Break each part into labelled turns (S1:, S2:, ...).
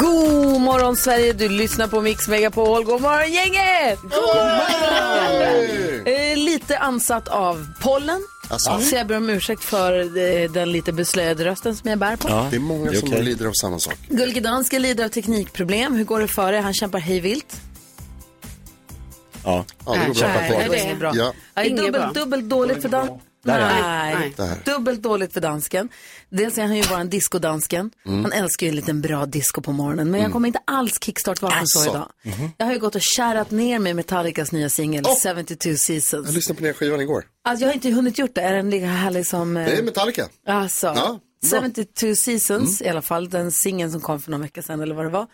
S1: God morgon Sverige, du lyssnar på Mix Megapol. God morgon gänget! God morgon! Eh, lite ansatt av pollen.
S2: Alltså?
S1: Så jag ber om ursäkt för eh, den lite beslöjade rösten som jag bär på.
S2: Det är många som lider av samma sak.
S1: Gullige Danska lider av teknikproblem. Hur går det för er? Han kämpar hejvilt.
S2: Ja, det går bra.
S1: Nej, Äh, det går inget bra.
S2: Ja,
S1: Ja, det är dubbelt, dubbelt dåligt för dansken. Nej,
S2: Där.
S1: dubbelt dåligt för dansken. Dels är han ju bara en discodansken.
S2: Mm.
S1: Han älskar ju en liten bra disco på morgonen. Men jag kommer inte alls kickstart vakna så Mhm.
S2: Alltså.
S1: idag. Jag har ju gått och kärat ner mig med Metallicas nya singel 72 Seasons.
S2: jag lyssnade på den här skivan igår.
S1: Alltså jag har inte hunnit gjort det. Är den lika härlig som... eh,
S2: Det är Metallica.
S1: Alltså,
S2: Ja, bra.
S1: 72 Seasons i alla fall, den singeln som kom för någon vecka sedan eller vad det var.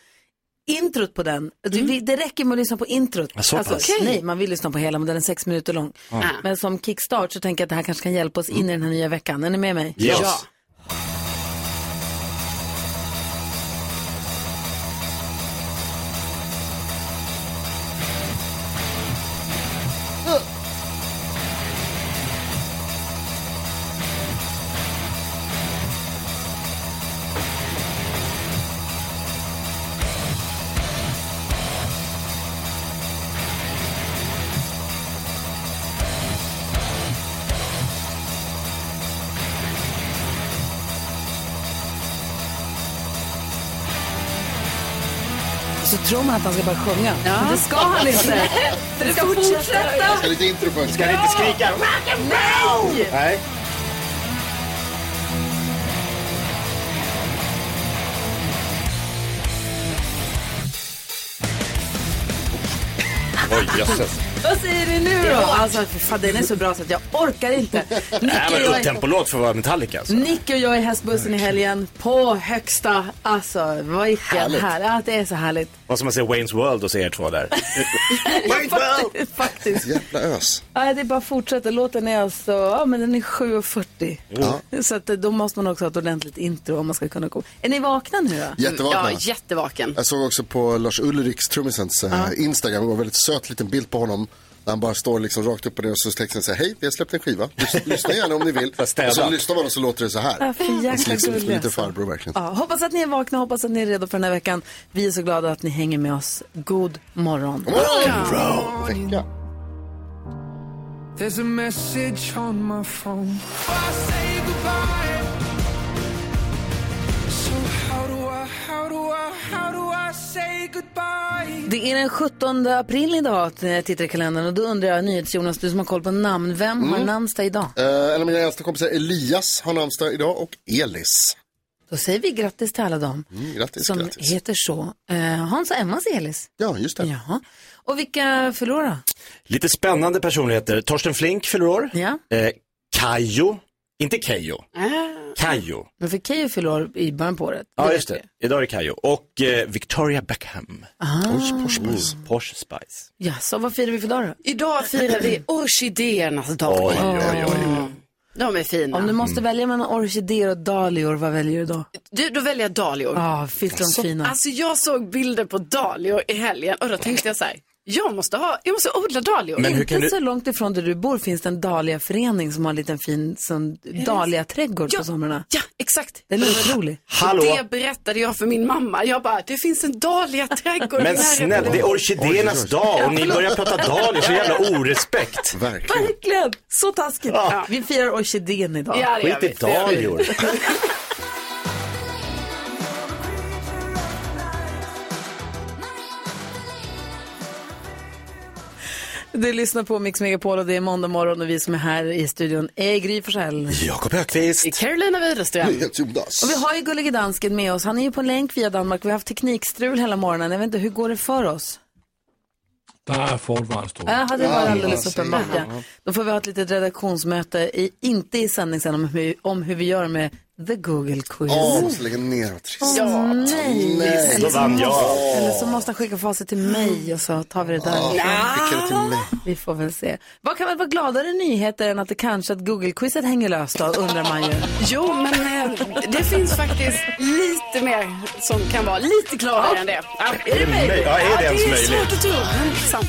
S1: Introt på den, du, vi- det räcker med att lyssna på introt.
S3: så pass. Okej.
S1: Nej, man vill lyssna på hela, men den är sex minuter lång. Men som kickstart så tänker jag att det här kanske kan hjälpa oss in i den här nya veckan. Är ni med mig?
S3: Yes.
S1: Ja. Så tror man att han ska bara sjunga. Men det ska han inte. det ska fortsätta.
S2: Ska lite intro först.
S3: Ska ni inte skrika? Nej! Oj, jösses.
S1: Vad säger du nu då? Alltså, fy fan, den är så bra så att jag orkar inte.
S3: Det här var en
S1: Nicky, jag,
S3: upptempolåt för att vara Metallica alltså.
S1: Nick och jag i hästbussen i helgen på högsta, alltså vilken
S2: Härligt.
S1: här, att det är så härligt.
S3: Vad som man ser Wayne's World och ser er två där. Wayne's World!
S1: Faktiskt. faktiskt.
S2: Jävla ös.
S1: Ja, det är bara fortsätter, låten är alltså, ja men den är 7.40. Så att eh, då måste man också ha ett ordentligt intro om man ska kunna komma. Är ni vakna nu då?
S2: Jättevakna.
S4: Ja, jättevaken.
S2: Jag såg också på Lars Ulriks, trummisens, eh, Instagram, det var en väldigt söt liten bild på honom. Där han bara står liksom rakt upp på det och så texten säger hej, vi har släppt en skiva. Lys- Lyssna gärna om ni vill.
S3: Fast städat.
S2: Och så lyssnar man och så låter det så
S1: Ja,
S2: här.
S1: för jäkla
S2: Det slits ut
S1: gullig
S2: som lite
S1: alltså.
S2: farbror verkligen.
S1: Ja, hoppas att ni är vakna, hoppas att ni är redo för den här veckan. Vi är så glada att ni hänger med oss. God morgon.
S2: Vecka.
S5: There's a message on my phone. I say goodbye. So how do I, how do I, how do I say goodbye?
S1: Det är den 17 april idag när jag tittar i kalendern och då undrar jag, NyhetsJonas, du som har koll på namn, vem har namnsdag idag?
S2: Eh, En av mina äldsta kompisar, Elias, har namnsdag idag och Elis.
S1: Då säger vi grattis till alla dem
S2: Mm, grattis,
S1: som
S2: grattis.
S1: heter så. Eh, Hans och Emmas Elis.
S2: Ja, just det.
S1: Ja. Och vilka förlorar?
S3: Lite spännande personligheter. Torsten Flink fyller år.
S1: Ja.
S3: Eh, Kajo. Inte Keyyo. Kajo.
S1: Men för Keyyo förlorar i början på året.
S3: Ja,
S1: vet
S3: just det. Idag är det Kajo. Och eh, Victoria Beckham. Porsche, Porsche Spice. Porsche Spice.
S1: vi. Ja, så vad firar vi för dag då?
S4: Idag firar vi orkidéernas dag.
S3: Oj, oj, oj.
S4: De är fina.
S1: Om du måste
S2: Mm.
S1: välja mellan orkidéer och dahlior, vad väljer du då?
S4: Du, då väljer jag dahlior.
S1: Ja, finns de fina?
S4: Alltså jag såg bilder på dahlior i helgen och då tänkte jag så här, jag måste, ha, jag måste odla dahlior.
S3: Men hur
S1: Inte
S3: kan du...
S1: så långt ifrån där du bor finns det en dahliaförening som har en liten fin sån dahliaträdgård på
S4: Ja.
S1: somrarna.
S4: Ja, exakt.
S1: Den är otrolig.
S3: Hallå?
S4: Det berättade jag för min mamma. Jag bara, det finns en dahliaträdgård
S3: Men snälla, det är orkidéernas dag och ni börjar prata dahlior. Så jävla orespekt.
S2: Verkligen.
S1: Verkligen, så taskigt. Vi firar orkidén idag.
S4: Ja, det gör
S3: Skit i
S4: vi. Det gör vi.
S3: dahlior.
S1: Du lyssnar på Mix Megapol och det är måndag morgon och vi som är här i studion är Gry Forssell.
S3: Jakob Högqvist.
S4: Carolina Widerström.
S2: Jonas.
S1: Och vi har ju gullige dansken med oss. Han är ju på länk via Danmark. Vi har haft teknikstrul hela morgonen. Jag vet inte, hur går det för oss?
S6: Der er fortvarnstrål.
S1: Ja, det var alldeles
S2: vad
S1: uppenbart.
S2: säger
S1: Ja. Då får vi ha ett litet redaktionsmöte, i, inte i sändning sen, om hur, om hur vi gör med The Google Quiz.
S2: Åh, måste lägga ner. Trist.
S1: Åh, nej.
S2: Nej.
S1: Eller
S2: Då
S1: så
S2: vann
S1: måste-
S2: jag.
S1: Eller så måste han skicka facit till mig och så tar vi det
S2: Ja,
S1: där.
S2: skicka det till mig.
S1: Vi får väl se. Vad kan väl vara gladare nyheter än att det kanske att Google-quizet hänger löst då, undrar man ju.
S4: Jo, men eh, det finns faktiskt lite mer som kan vara lite klarare än det. Ja, är det möjligt?
S3: Ja, är det ens
S4: Det är svårt
S3: möjligt?
S4: att tro, men sant.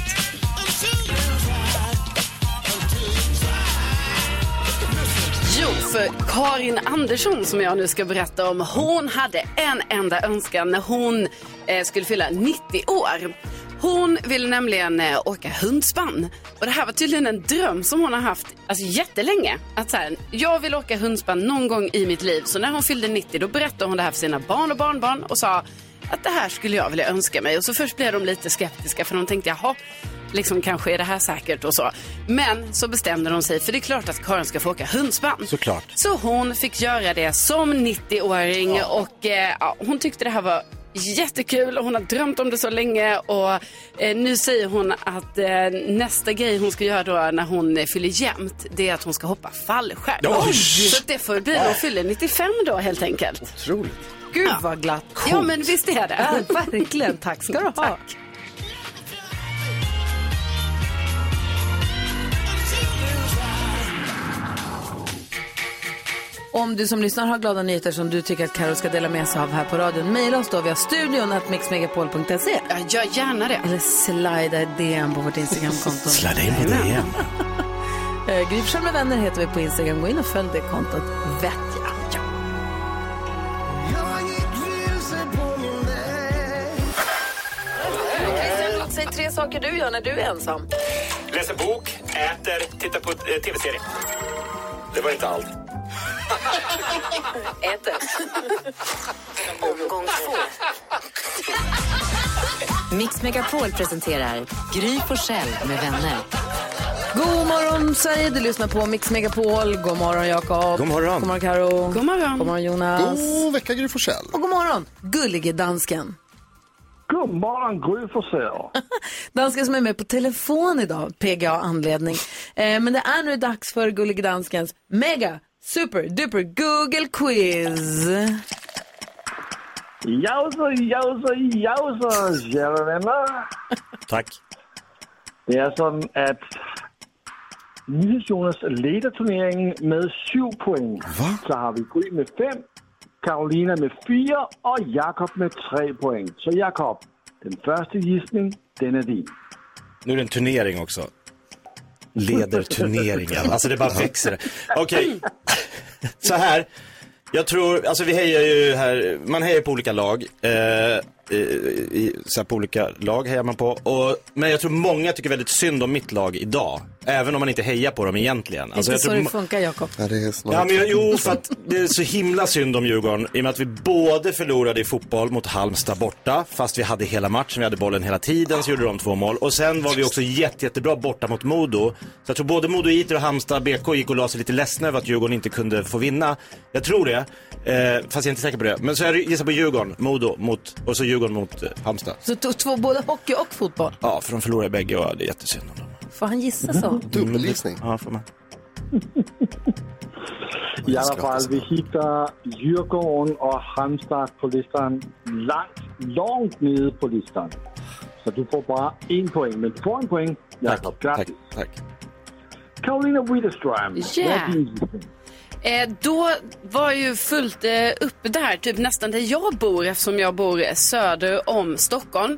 S4: Jo, för Karin Andersson som jag nu ska berätta om, hon hade en enda önskan när hon eh, skulle fylla 90 år. Hon ville nämligen eh, åka hundspann. Och det här var tydligen en dröm som hon har haft alltså, jättelänge. Att så här, jag vill åka hundspann någon gång i mitt liv. Så när hon fyllde 90 då berättade hon det här för sina barn och barnbarn och sa att det här skulle jag vilja önska mig. Och så först blev de lite skeptiska för de tänkte jaha, liksom kanske är det här säkert och så. Men så bestämde de sig för det är klart att Karin ska få åka hundspann.
S3: Såklart.
S4: Så hon fick göra det som 90-åring och eh, ja, hon tyckte det här var jättekul och hon har drömt om det så länge och eh, nu säger hon att eh, nästa grej hon ska göra då när hon eh, fyller jämnt det är att hon ska hoppa fallskärm.
S3: Oj!
S4: Så att det får bli när hon fyller 95 då helt enkelt.
S2: Otroligt.
S1: Gud vad glatt.
S4: Ja men visst är
S1: Ja,
S4: det.
S1: verkligen. Tack ska du ha.
S4: Tack.
S1: Om du som lyssnar har glada nyheter som du tycker att Carol ska dela med sig av här på radion, mejla oss då via studion at mixmegapol.se
S4: Ja, gör gärna det.
S1: eller slida i DM på vårt Instagramkonto.
S3: Sladda in på det igen.
S1: Eh, Gry Forssell med vänner heter vi på Instagram. Gå in och följ det kontot, vet jag. Ja. Säg tre saker du gör när du är ensam.
S3: Läser bok, äter, tittar på eh, tv-serier. Det var inte allt.
S1: Äter.
S7: Omgång två. Mix Megapol presenterar Gry Forssell med vänner.
S1: God morgon Sverige, du lyssnar på Mix Megapol. God morgon Jakob.
S3: God morgon.
S1: God morgon Karo.
S4: God morgon.
S1: God morgon Jonas.
S2: God vecka Gry Forssell.
S1: Och god morgon gullige dansken.
S8: God morgon, Gry Forssell.
S1: Dansken som är med på telefon idag, PGA anledning. Eh, men det är nu dags för gullige danskens mega super duper Google quiz.
S8: Jausa, jausa, jausa, kära vänner.
S3: Tack.
S8: Det är sådan att Nyhets-Jonas leder turneringen med 7 poäng. Så har vi Gry med 5, Karolina med 4 och Jakob med 3 poäng. Så Jakob, den första gissningen, den är din.
S3: Nu är det en turnering också. Leder turneringen. Alltså det bara växer. Okej, så här. Jag tror, alltså vi hejar ju här, man hejar på olika lag. Eh, i- i, så här, på olika lag hejar man på. Och, men jag tror många tycker väldigt synd om mitt lag idag. Även om man inte hejar på dem egentligen. Alltså,
S1: Inte
S3: jag
S1: så
S3: tror,
S1: det
S3: ma-
S1: funkar Jakob.
S2: Ja, det är snart.
S3: Ja, men jag, jo, för att det är så himla synd om Djurgården i och med att vi både förlorade i fotboll mot Halmstad borta, fast vi hade hela matchen, vi hade bollen hela tiden, så gjorde de två mål. Och sen var vi också jätte, jättebra borta mot Modo. Så jag tror både Modo Iter och Halmstad BK gick och la sig lite ledsna över att Djurgården inte kunde få vinna. Jag tror det, eh, fast jag är inte säker på det. Men så jag gissar på Djurgården, Modo mot, och så Djurgården mot eh, Halmstad.
S1: Så to- två, både hockey och fotboll.
S3: Ja, för de förlorade bägge och det är jättesynd om dem. Mm,
S1: Får han gissa
S4: Mhm.
S1: så?
S2: Dubbelgissning.
S3: Ja, får man.
S8: I alla fall, vi hittar Djurgården och Halmstad på listan långt, långt nere på listan. Så du får bara en poäng, men du får en poäng.
S3: Tack,
S8: Jakob,
S3: tack,
S8: grattis.
S3: tack.
S8: Karolina Widerström,
S4: Ja.
S8: vad är din gissning?
S4: Eh, då var ju fullt eh, uppe där, typ nästan där jag bor eftersom jag bor eh, söder om Stockholm.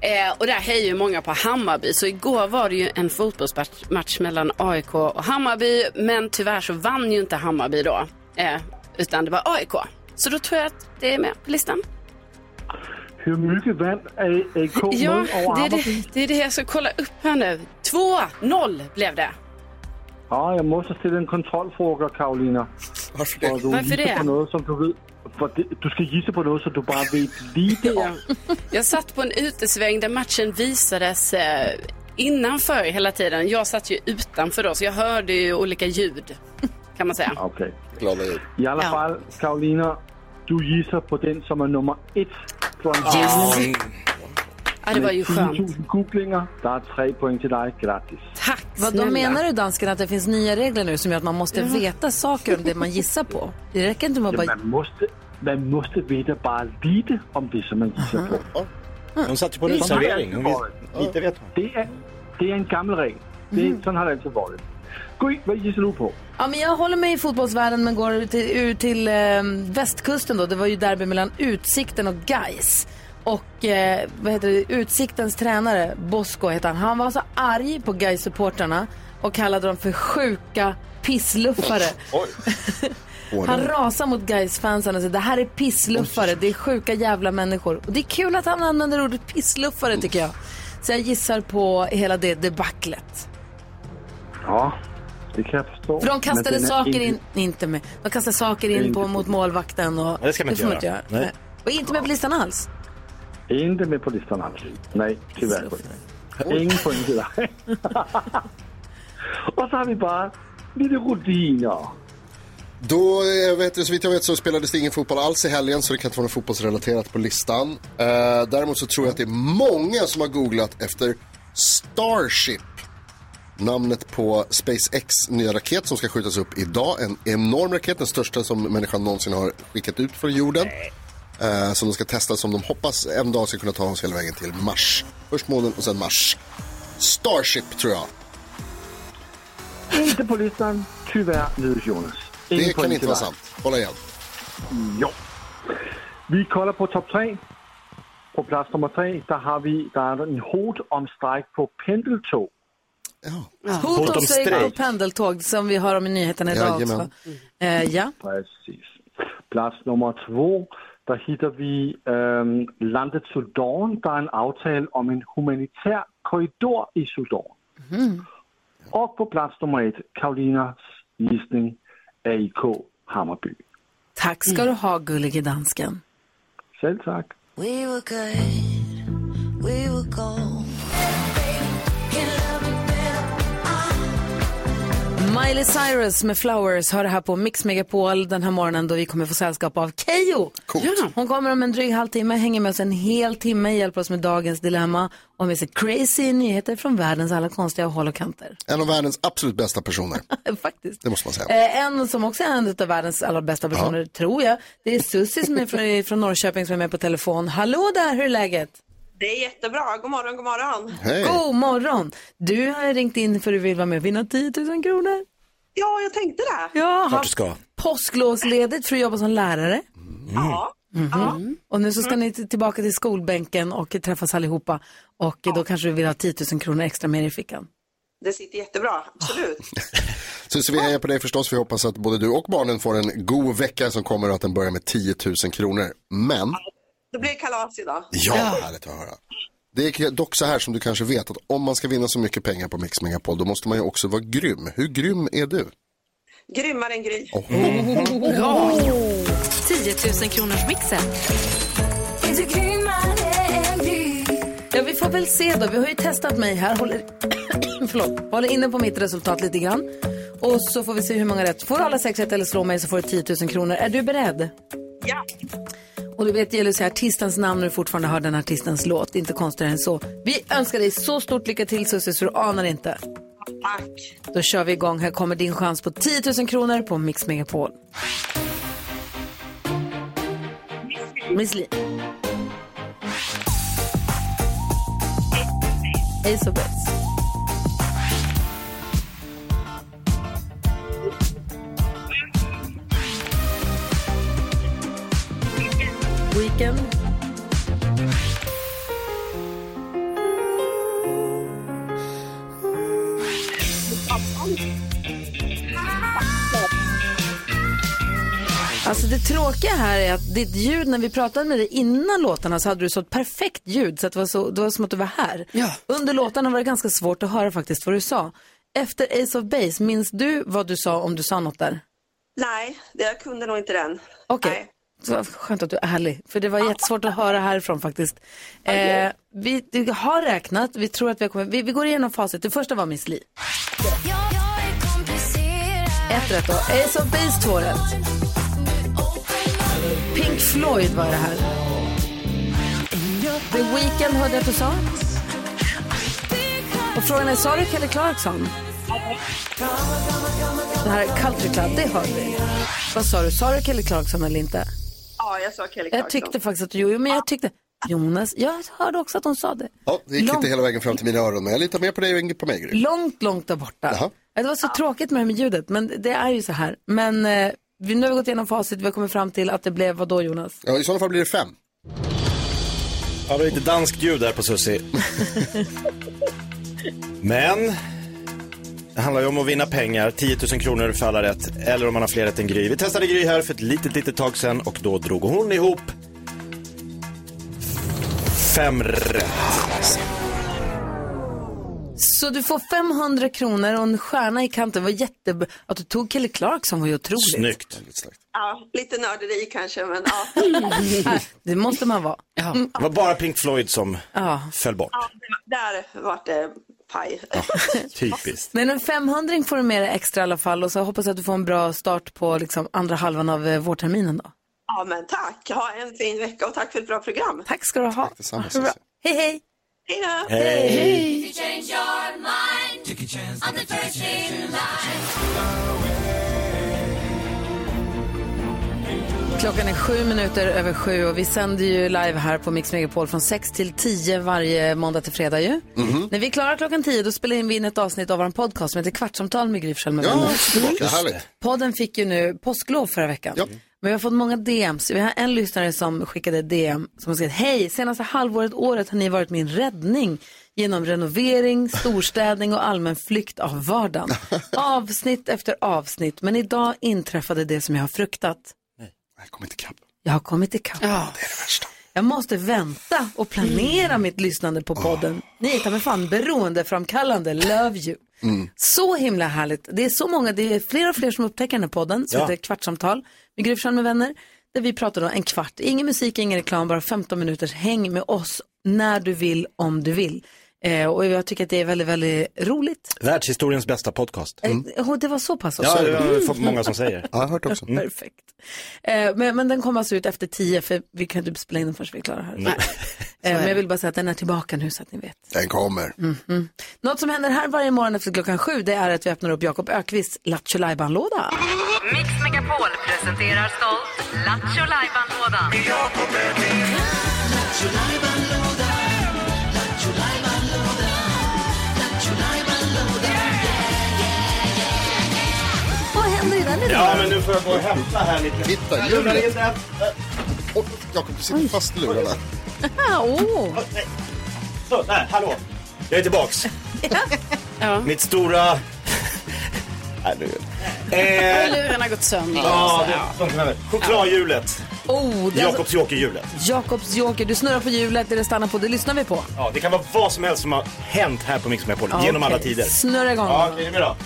S4: Eh, och där hejar ju många på Hammarby. Så igår var det ju en fotbollsmatch match mellan AIK och Hammarby. Men tyvärr så vann ju inte Hammarby då. Eh, utan det var AIK. Så då tror jag att det är med på listan.
S8: Hur mycket vann AIK
S4: Ja,
S8: mot över
S4: det är
S8: Hammarby?
S4: det, det är det jag ska kolla upp här nu. 2-0 blev det.
S8: Ja, jag måste ställa en kontrollfråga, Karolina.
S2: Varför
S8: Och
S2: det?
S8: du
S4: Varför
S8: gissar
S4: det?
S8: på något som du vet. För det- du ska gissa på något som du bara vet lite om.
S4: Jag satt på en utesväng där matchen visades eh, innanför hela tiden. Jag satt ju utanför då, så jag hörde ju olika ljud, kan man säga.
S8: Okej.
S2: Glada jul.
S8: I alla
S4: Ja.
S8: fall, Karolina, du gissar på den som är nummer ett från
S3: Åh,
S4: Ja, det var ju
S8: Med
S4: skönt.
S8: 10.000 googlinger, der er tre point til dig gratis.
S4: Tack
S1: Vad
S4: snälla.
S1: menar du dansken att det finns nya regler nu som gör att man måste
S4: Ja.
S1: veta saker om det man gissar på? Det räcker inte med att
S8: Ja,
S1: bara...
S8: man, måste, man måste veta bare lite om det, som man gissar på.
S3: Hon satt ju på en uteservering. Hon vis- lite vet hon.
S8: Det er, det er en gammel regel. Det, Sådan har det altid været. Gry, hvad gisser du på?
S1: Ja, men jag håller mig i fotbollsvärlden men går ut till, ut till eh, västkusten då. Det var ju derby mellan Utsikten och Gais. Och eh, vad heter det? Utsiktens tränare, Bosko heter han, han var så arg på gais supportrarna och kallade dem för sjuka pissluffare. Han rasar mot gais fansen och säger det här är pissluffare, det är sjuka jävla människor. Och det är kul att han använder ordet pissluffare tycker jag. Så jag gissar på hela det debaclet.
S8: Ja, det kan jeg forstå.
S1: För de kastade
S8: Men den er
S1: saker
S8: ikke-
S1: in, inte med, de kastade saker in på, mot målvakten och...
S8: Ja, det ska man inte
S1: får
S8: göra. Nej.
S1: Och inte med på listan alls.
S8: Inte med på listan alls. Nej, tyvärr. Ingen poäng till dig. Och så har vi bara lite rutiner.
S2: Då, eh, vet du, så vitt jag vet så spelades det ingen fotboll alls i helgen så det kan inte vara något fotbollsrelaterat på listan. Eh, däremot så tror jag att det är många som har googlat efter Starship. Namnet på SpaceX nya raket som ska skjutas upp idag. En enorm raket, den största som människan någonsin har skickat ut från jorden. Eh, som de ska testa som de hoppas en dag ska kunna ta oss hela vägen till Mars. Först månen och sen Mars. Starship tror jag.
S8: Inte på listan, tyvärr, lyder Jonas. Ingen
S2: Det kan
S8: poäng Mm,
S2: inte
S8: till
S2: vara
S8: dig.
S2: sant. Hålla igen.
S8: Jo. Vi kollar på topp tre. På plats nummer tre, där har vi där är en hot om strejk på pendeltåg.
S1: Hot om strejk på pendeltåg som vi har om i nyheterna idag
S8: Jajamän.
S1: också. Eh, ja.
S8: Precis. Plats nummer två, där hittar vi ehm, landet Sudan. Där är en avtal om en humanitär korridor i Sudan. Och på plats nummer ett, Karolinas gissning, AIK Hammarby.
S1: Tack ska du ha gullige dansken.
S8: Själv tack.
S5: We were good, we were gold.
S1: Miley Cyrus med Flowers har det här på Mix Megapol den här morgonen då vi kommer få sällskap av Keyyo. Hon kommer om en dryg halvtimme, hänger med oss en hel timme, hjälper oss med dagens dilemma och med sig crazy nyheter från världens alla konstiga håll och kanter.
S2: En av världens absolut bästa personer.
S1: Faktiskt.
S2: Det måste man säga.
S1: Eh, en som också är en av världens allra bästa personer, tror jag, det är Susie som är från, från Norrköping som är med på telefon. Hallå där, hur är läget?
S9: Det är jättebra. God morgon, god morgon.
S1: God morgon! Du har ringt in för att du vill vara med och vinna 10 000 kronor.
S9: Ja, jag tänkte det.
S1: Ja,
S9: Klart du
S1: haft
S3: ska.
S1: påsklovsledigt för att jobba som lärare.
S9: Ja.
S1: Mhm. Och nu så ska ni t- tillbaka till skolbänken och träffas allihopa. Och eh, då kanske du vill ha 10 000 kronor extra mer i fickan.
S9: Det sitter jättebra, absolut.
S2: Susie, vi hejar på dig förstås. Vi hoppas att både du och barnen får en god vecka som kommer och att den börjar med 10 000 kronor. Men,
S9: Det blir kalas idag.
S2: ja, härligt att höra. Det är dock så här som du kanske vet att om man ska vinna så mycket pengar på Mix Megapol då måste man ju också vara grym. Hur grym är du?
S9: Grymmare än Gry.
S2: Åh.
S7: Bra! 10 000 kronors mixen.
S1: Ja, vi får väl se då. Vi har ju testat mig här. Håller, förlåt. Håller inne på mitt resultat lite grann. Och så får vi se hur många rätt. Får du alla sex rätt eller slå mig så får du 10 000 kronor. Är du beredd?
S9: Ja.
S1: Och du vet, det gäller att säga artistens namn när du fortfarande hör den artistens låt. Inte konstigare än så. Vi önskar dig så stort lycka till Susie så du anar inte.
S9: Tack.
S1: Då kör vi igång. Här kommer din chans på 10 000 kronor på Mix Megapol. Miss Li. Ace of Base. Weekend. Alltså det tråkiga här är att ditt ljud, när vi pratade med dig innan låtarna så hade du så ett perfekt ljud så att det var, så, det var som att du var här. Under låtarna var det ganska svårt att höra faktiskt vad du sa. Efter Ace of Base, minns du vad du sa om du sa något där?
S9: Nej, det- jag kunde nog inte den.
S1: Okej. Så vad skönt att du är ärlig, för det var jättesvårt att höra härifrån faktiskt. Eh, vi, vi har räknat, vi tror att vi har kommit, vi, vi går igenom facit. Det första var Miss Li. Ett rätt då. Ace of Base två rätt. Pink Floyd var det här. The Weeknd hörde jag att du sa. Och frågan är, sa du Kelly Clarkson? Det här är Country Club, det hörde vi. Vad sa du, sa du Kelly Clarkson eller inte?
S9: Ja, jag sa Kelly
S1: Jag tyckte faktiskt att du gjorde, men jag tyckte, Jonas, jag hörde också att hon sa det.
S2: Ja, det gick
S1: Långt-
S2: inte hela vägen fram till mina öron, men jag litar mer på dig än på mig, Gry.
S1: Långt, långt där borta.
S2: Jaha.
S1: Ja, Det var så tråkigt med det här med ljudet, men det är ju så här. Men eh, vi, nu har vi gått igenom facit, vi har kommit fram till att det blev, vad då Jonas?
S2: Ja, I sådana fall blir det fem.
S3: Ja, det var lite danskt ljud där på Susie. Men det handlar ju om att vinna pengar, 10 000 kronor för alla rätt, eller om man har fler rätt än Gry. Vi testade Gry här för ett litet, litet tag sedan och då drog hon ihop fem rätt.
S1: Så du får 500 kronor och en stjärna i kanten. Det var jättebra. Att du tog Kelly Clarkson var ju otroligt.
S3: Snyggt.
S9: Ja, lite nörderi kanske, men ja.
S1: Det måste man vara. Ja.
S3: Det var bara Pink Floyd som
S1: Ja.
S3: föll bort.
S9: ja där vart det eh, paj.
S3: Typiskt.
S1: Men en 500 får du med dig extra i alla fall och så hoppas jag att du får en bra start på liksom andra halvan av eh, vårterminen då.
S9: Ja, men tack. Ha en fin vecka och tack för ett bra program.
S1: Tack ska du ha.
S2: Detsamma,
S1: Bra. Hej, hej.
S9: Hej då.
S5: Hej. Hej.
S1: Klockan är sju minuter över sju och vi sänder ju live här på Mix Megapol från 6 till 10 varje måndag till fredag ju.
S8: Mm-hmm.
S5: Mhm.
S1: När vi är klara klockan 10 då spelar vi in ett avsnitt av vår podcast som heter Kvartsamtal med Gry Forssell med
S5: Ja,
S1: vänner.
S5: tillbaka. Härligt.
S1: Podden fick ju nu påsklov förra veckan. Men vi har fått många DMs. Vi har en lyssnare som skickade DM som har skrivit Hej, senaste halvåret, året har ni varit min räddning genom renovering, storstädning och allmän flykt av vardagen. Avsnitt efter avsnitt, men idag inträffade det som jag har fruktat. Jag har kommit ikapp. Ja. Det är det värsta. Jag måste vänta och planera mitt lyssnande på podden. Ni är ta mig fan beroendeframkallande. Love you.
S5: Mm.
S1: Så himla härligt. Det är så många, det är fler och fler som upptäcker den här podden som
S5: Ja.
S1: heter Kvartsamtal med Gry Forssell med vänner. Där vi pratar då en kvart, ingen musik, ingen reklam, bara 15 minuters häng med oss när du vill, om du vill. Eh, och jag tycker att det är väldigt, väldigt roligt.
S3: Världshistoriens bästa podcast.
S1: Eh, och det var så pass
S3: Ja,
S1: också.
S3: det har jag fått
S1: Mm.
S3: många som säger. Mm.
S2: Ja, jag har hört också.
S1: Perfekt. Eh, men, men den kommer alltså ut efter tio, för vi kan inte spela in den förrän vi är klara här.
S2: Nej.
S1: Eh, men jag vill bara säga att den är tillbaka nu så att ni vet.
S2: Den kommer.
S1: Mm. Något som händer här varje morgon efter klockan sju, det är att vi öppnar upp Jakob Ökvists Lattjo låda
S5: Mix Megapol presenterar stolt Lattjo Lajban-lådan.
S1: Vad händer i den
S3: Ja, men nu får jag gå och hämta här lite.
S2: Titta,
S3: Jag lurar in
S2: hjulet.
S3: den.
S2: Oj, Jakob, du sitter fast i lurarna.
S1: oh.
S3: Så, där, hallå. Jag är tillbaks. Mitt stora... Nej, nu...
S4: Eh.
S3: Eh,
S4: Luren har gått sönder.
S3: ja, det är sånt som händer. Chokladhjulet.
S1: Oh, det är alltså
S3: Jakobs jokerhjulet.
S1: Jakobs joker, du snurrar på hjulet, det det stannar på, det lyssnar vi på.
S3: Ja, det kan vara vad som helst som har hänt här på Mix Megapol
S1: Ja,
S3: genom
S1: okej.
S3: alla tider.
S1: Snurra igång.
S3: Ja, okej, är ni med då?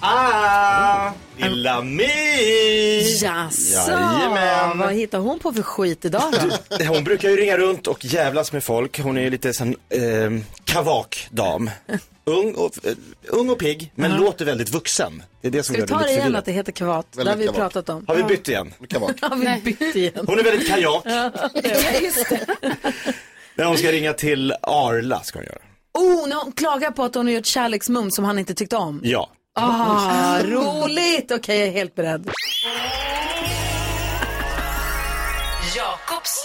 S3: Ah, lilla My!
S1: Jaså,
S3: Jajamän.
S1: vad hittar hon på för skit idag då?
S3: Hon brukar ju ringa runt och jävlas med folk. Hon är ju lite sån eh, kavakdam. Ung och, eh, ung och pigg, men låter väldigt vuxen. Det är det som
S1: Ska vi
S3: gör det
S1: ta det
S3: lite
S1: igen
S3: förvirrat.
S1: att det heter kavat? Det har vi pratat om.
S3: Har vi
S1: Ja.
S3: bytt igen?
S1: Har vi bytt igen?
S3: Hon är väldigt kajak.
S1: Ja, just det.
S3: Men hon ska ringa till Arla, ska hon göra.
S1: Oh, när hon klagar på att hon har gjort kärleksmums som han inte tyckte om.
S3: Ja.
S1: Ah, roligt! Okej, jag är helt beredd.
S5: Jakobs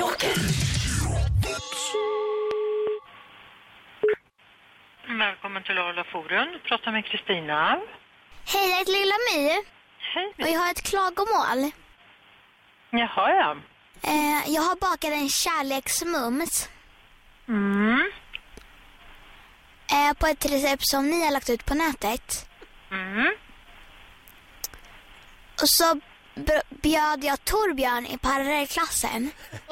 S5: joker.
S10: Välkommen till Arla Forum. Du pratar med Kristina.
S11: Hej, jag heter Lilla My. Och jag har ett klagomål.
S10: Jaha, ja.
S11: Eh, jag har bakat en kärleksmums.
S10: Mm.
S11: Eh, på ett recept som ni har lagt ut på nätet.
S10: Mm.
S11: Och så br- bjöd jag Torbjörn i parallellklassen.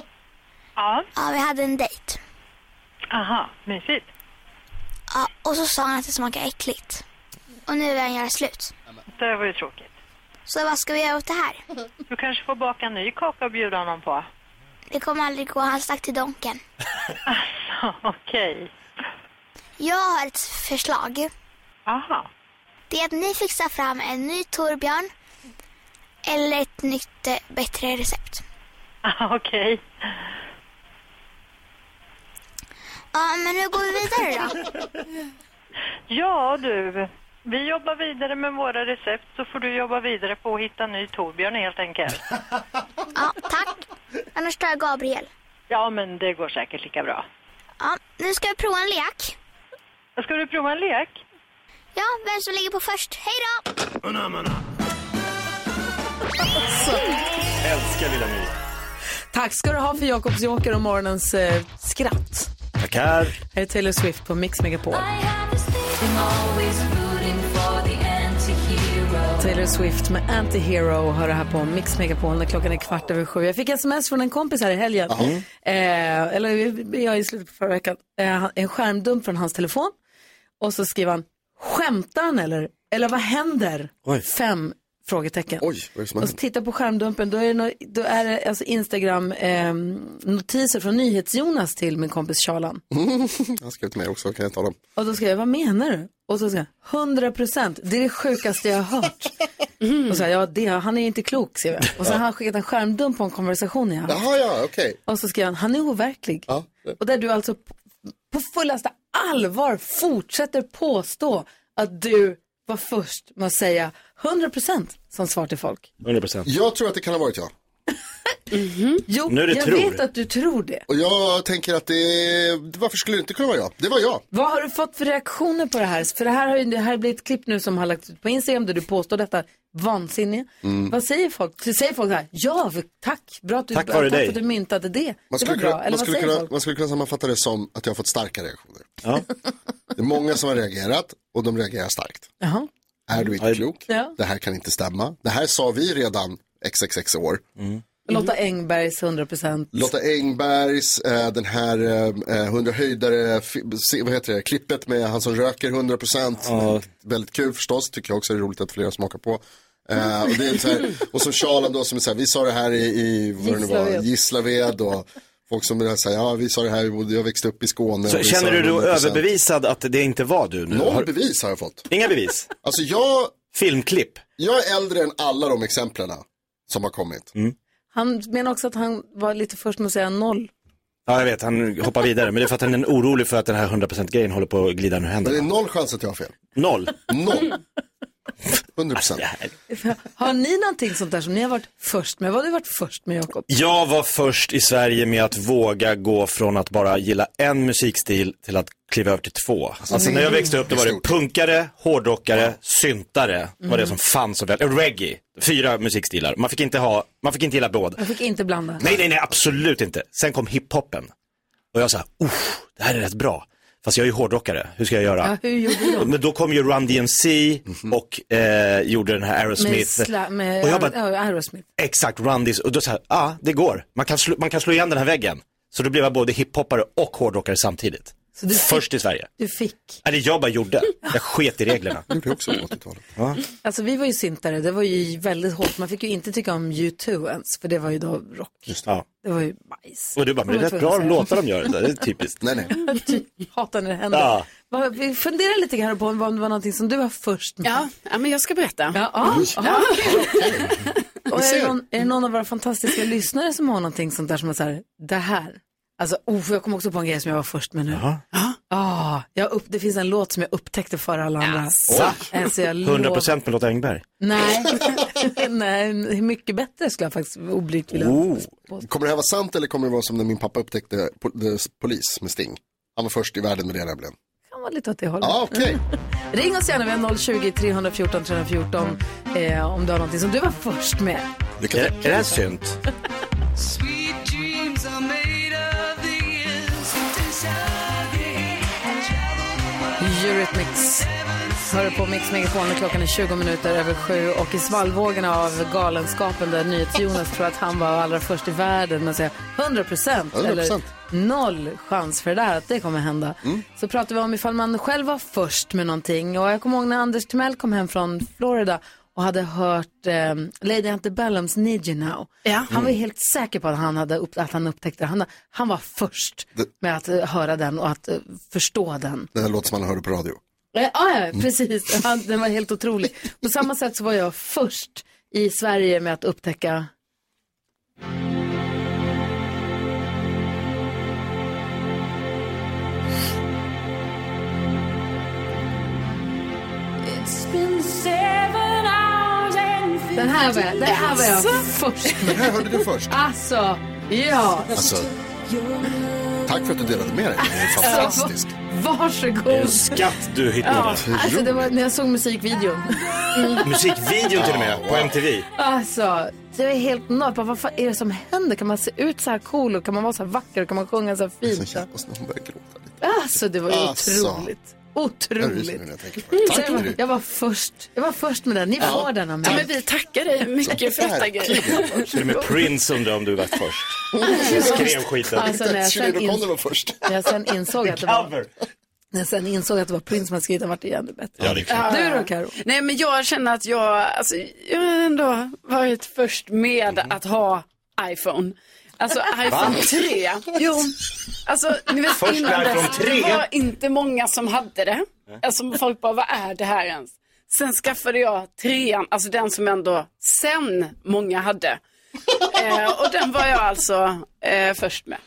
S10: Ja.
S11: Ja, vi hade en dejt.
S10: Aha, mysigt.
S11: Ja, och så sa han att det smakade äckligt. Och nu vill han göra slut.
S10: Det var ju tråkigt.
S11: Så vad ska vi göra åt det här?
S10: Du kanske får baka en ny kaka och bjuda honom på.
S11: Det kommer aldrig gå, han stack till donken.
S10: Okej.
S11: Jag har ett förslag.
S10: Aha.
S11: Det är att ni fixar fram en ny Torbjörn Eller ett nytt eh, bättre recept.
S10: Okej.
S11: Ja, men nu går vi vidare då.
S10: Ja du, vi jobbar vidare med våra recept så får du jobba vidare på att hitta en ny Torbjörn helt enkelt.
S11: Annars tar jag Gabriel.
S10: Ja men det går säkert lika bra.
S11: Ja, nu ska jag prova en lek.
S10: Ska du prova en lek?
S11: Ja, vem som ligger på först. Hej då!
S3: Älskar lilla My.
S1: Tack ska du ha för Jakobs joker och morgonens eh, skratt.
S3: Tackar.
S1: Här är Taylor Swift på Mix Megapol. Taylor Swift med Anti-Hero hör det här på Mix Megapol när klockan är kvart över sju. Jag fick sms från en kompis här i helgen. Eh, eller jag i slutet på förra veckan. Eh, han- en skärmdump från hans telefon. Och så skriver han, skämtar han eller? Eller vad händer?
S2: Oj.
S1: Fem frågetecken.
S2: Oj, vad är det
S1: Och
S2: som
S1: så
S2: händer?
S1: tittar jag på skärmdumpen, då är det, nå- då är det alltså Instagram-notiser från NyhetsJonas till min kompis Charlan.
S2: Jag har skrivit med också, kan jag ta dem?
S1: Och då skrev jag, vad menar du? Och så skrev jag, 100 procent, det är det sjukaste jag har hört.
S2: Mm.
S1: Och så här, ja, det, han är ju inte klok, skrev jag. Och sen har han skickat en skärmdump på en konversation jag haft.
S2: Jaha, ja, okej.
S1: Och så skrev han, han är overklig. Och där du alltså p- på fullaste allvar fortsätter påstå att du var först med att säga 100 procent som svar till folk.
S3: 100%.
S2: Jag tror att det kan ha varit jag.
S1: Mm-hmm. Jo,
S2: Nu är det
S1: jag
S2: tror.
S1: vet att du tror det.
S2: Och jag tänker att det, varför skulle det inte kunna vara jag? Det var jag.
S1: Vad har du fått för reaktioner på det här? För det här har ju det här har blivit ett klipp nu som har lagts ut på Instagram där du påstår detta vansinniga.
S2: Mm.
S1: Vad säger folk? Så Säger folk så här, ja, tack, bra att du,
S2: Tack vare
S1: tack
S2: dig."
S1: för att du myntade det.
S2: Man
S1: det var
S2: skulle,
S1: bra.
S2: kunna,
S1: Eller
S2: man,
S1: vad
S2: skulle
S1: säger
S2: kunna,
S1: folk?
S2: man skulle kunna sammanfatta det som att jag har fått starka reaktioner. Det är många som har reagerat och de reagerar starkt.
S1: Jaha.
S2: Är du inte klok?
S1: Ja.
S2: Det här kan inte stämma. Det här sa vi redan xxx år.
S1: Lotta Engbergs 100 procent.
S2: Lotta Engbergs, eh, den här eh, 100 höjdare, fi- se- vad heter det, klippet med han som röker 100 procent. Väldigt kul förstås, tycker jag också är roligt att flera smakar på. Eh, och, det är så här, och som Charlan då som är så här, vi sa det här i, i vad det nu var,
S3: Gislaved.
S2: Gislaved och folk som är så här, ja vi sa det här, vi bodde- jag växte upp i Skåne.
S3: Så
S2: och vi
S3: känner
S2: sa
S3: du dig
S2: 100%.
S3: överbevisad att det inte var du? Nu?
S2: Noll bevis har jag fått.
S3: Inga bevis?
S2: Alltså jag...
S3: Filmklipp?
S2: Jag är äldre än alla de exemplen som har kommit.
S3: Mm.
S1: Han menar också att han var lite först med att säga noll.
S3: Ja, jag vet, han hoppar vidare. Men det är för att han är orolig för att den här 100%-grejen håller på att glida ur
S2: Men det är
S3: händerna.
S2: noll chans att jag har fel.
S3: Noll.
S2: Noll. 100 procent.
S1: Har ni någonting sånt där som ni har varit först med? Vad har du varit först med Jakob?
S3: Jag var först i Sverige med att våga gå från att bara gilla en musikstil till att kliva över till två. Alltså när jag växte upp då var det punkare, hårdrockare, syntare var
S2: Mm.
S3: det som fanns och väl. och Reggae, fyra musikstilar. Man fick inte ha, man fick inte gilla båda.
S1: Jag fick inte blanda.
S3: Nej, nej, nej, absolut inte. Sen kom hiphopen. Och jag sa, uff, det här är rätt bra. Fast jag är ju hårdrockare, hur ska jag göra?
S1: Ja, hur gjorde du då?
S3: Men då kom ju Run DMC
S2: Mhm.
S3: och eh, gjorde den här
S1: Med,
S3: Aerosmith.
S1: sla, med
S3: Och jag bara-
S1: ja, Aerosmith.
S3: Exakt, Run this, och då sa jag, ja ah, det går. Man kan, slå, man kan slå igen den här väggen. Så då blev jag både hiphoppare och hårdrockare samtidigt.
S1: Så du fick-
S3: Först i Sverige.
S1: Du fick.
S3: Nej, det jag bara gjorde. Jag sket i reglerna.
S2: Det gjorde jag också på 80-talet.
S3: Ja.
S1: Alltså vi var ju syntare, det var ju väldigt hårt. Man fick ju inte tycka om U2 ens, för det var ju då rock.
S3: Ja.
S1: Det var ju bajs.
S3: Och du bara, men det är rätt bra låtar de gör, det där, det är typiskt. Nej, nej.
S1: typ Hatar när det händer.
S3: Ja.
S1: Vad- Vi funderar lite grann på om det var någonting som du var först med. Ja,
S4: men jag ska berätta.
S1: Ja, ja. ja. Och är, det
S4: ser.
S1: någon, är det någon av våra fantastiska lyssnare som har någonting sånt där som är så här, det här. Alltså, oh, jag kom också på en grej som jag var först med nu.
S3: Jaha.
S1: Ah, jag upp, det finns en låt som jag upptäckte före alla andra.
S3: Oj.
S1: Alltså, jag
S3: 100
S1: lovar.
S3: procent med Lotta Engberg.
S1: Nej. Nej, mycket bättre skulle jag faktiskt oblygt vilja
S2: Oh. Kommer det här vara sant eller kommer det vara som när min pappa upptäckte po- the polis med Sting? Han var först i världen med det nämligen.
S1: kan vara lite åt det hållet.
S2: Ja, okej.
S1: Ring oss gärna, vi har 020 314 314 eh, om du har någonting som du var först med.
S3: Är, är det här synt?
S5: Sweet dreams are made of these
S1: Eurythmics hör på Mix Megapol och klockan är 20 minuter över sju och i svallvågorna av galenskapen där NyhetsJonas tror att han var allra först i världen med att säga 100 procent
S5: 100%.
S1: eller noll chans för det där att det kommer hända. Så pratar vi om ifall man själv var först med någonting och jag kommer ihåg när Anders Timell kom hem från Florida och hade hört eh, Lady Antebellums Need You Now. Han var ju helt säker på att han, hade upp, att han upptäckte det. Han, han var först med att eh, höra den och att eh, förstå den.
S2: Den här låten som man hörde på radio.
S1: Ja, ja
S3: Mm.
S1: precis. Han, den var helt otrolig. På samma sätt så var jag först i Sverige med att upptäcka Den här var jag, den här var jag först med.
S2: Den här hörde du först.
S1: Alltså, ja.
S2: Alltså, tack för att du delade med dig. Det är fantastiskt.
S1: Varsågod.
S3: En skatt du hittade.
S1: Ja, alltså det var när jag såg musikvideon.
S3: Mm. Musikvideon till och med, på MTV.
S1: Alltså, det var helt nöjd. Bara, Vad fan är det som händer? Kan man se ut så här cool och kan man vara så här vacker och kan man sjunga så här fint?
S2: Hon började gråta.
S1: Alltså det var ju
S2: Alltså.
S1: otroligt.
S2: Jag ryser
S1: Otroligt.
S2: nu när jag tänker på det. Tack
S1: Mm, Jag
S2: hörru.
S1: var, jag var först. Jag var först med den. Ni
S2: Ja.
S1: får den av mig.
S2: Ja,
S4: men vi tackar dig mycket för detta, Gry.
S3: Till och med Prince undrar om du var först.
S1: Mm.
S3: Skrev skiten.
S1: Alltså, när jag sen
S2: Shirley
S1: ins-
S2: O'Connor var först.
S1: när jag sen insåg att det var... När jag sen insåg att det var Prince som hade skrivit den vart det ännu bättre.
S3: Ja, det är klart.
S1: Du då Karo?
S4: Nej, men jag känner att jag, alltså, jag har ändå varit först med att ha iPhone. Alltså iPhone 3. Jo, alltså ni vet
S3: Först med
S4: innan
S3: iPhone
S4: dess,
S3: 3?
S4: det var inte många som hade det. Alltså folk bara, vad är det här ens? Sen skaffade jag trean, alltså den som ändå sen många hade. eh, och den var jag alltså eh, först med.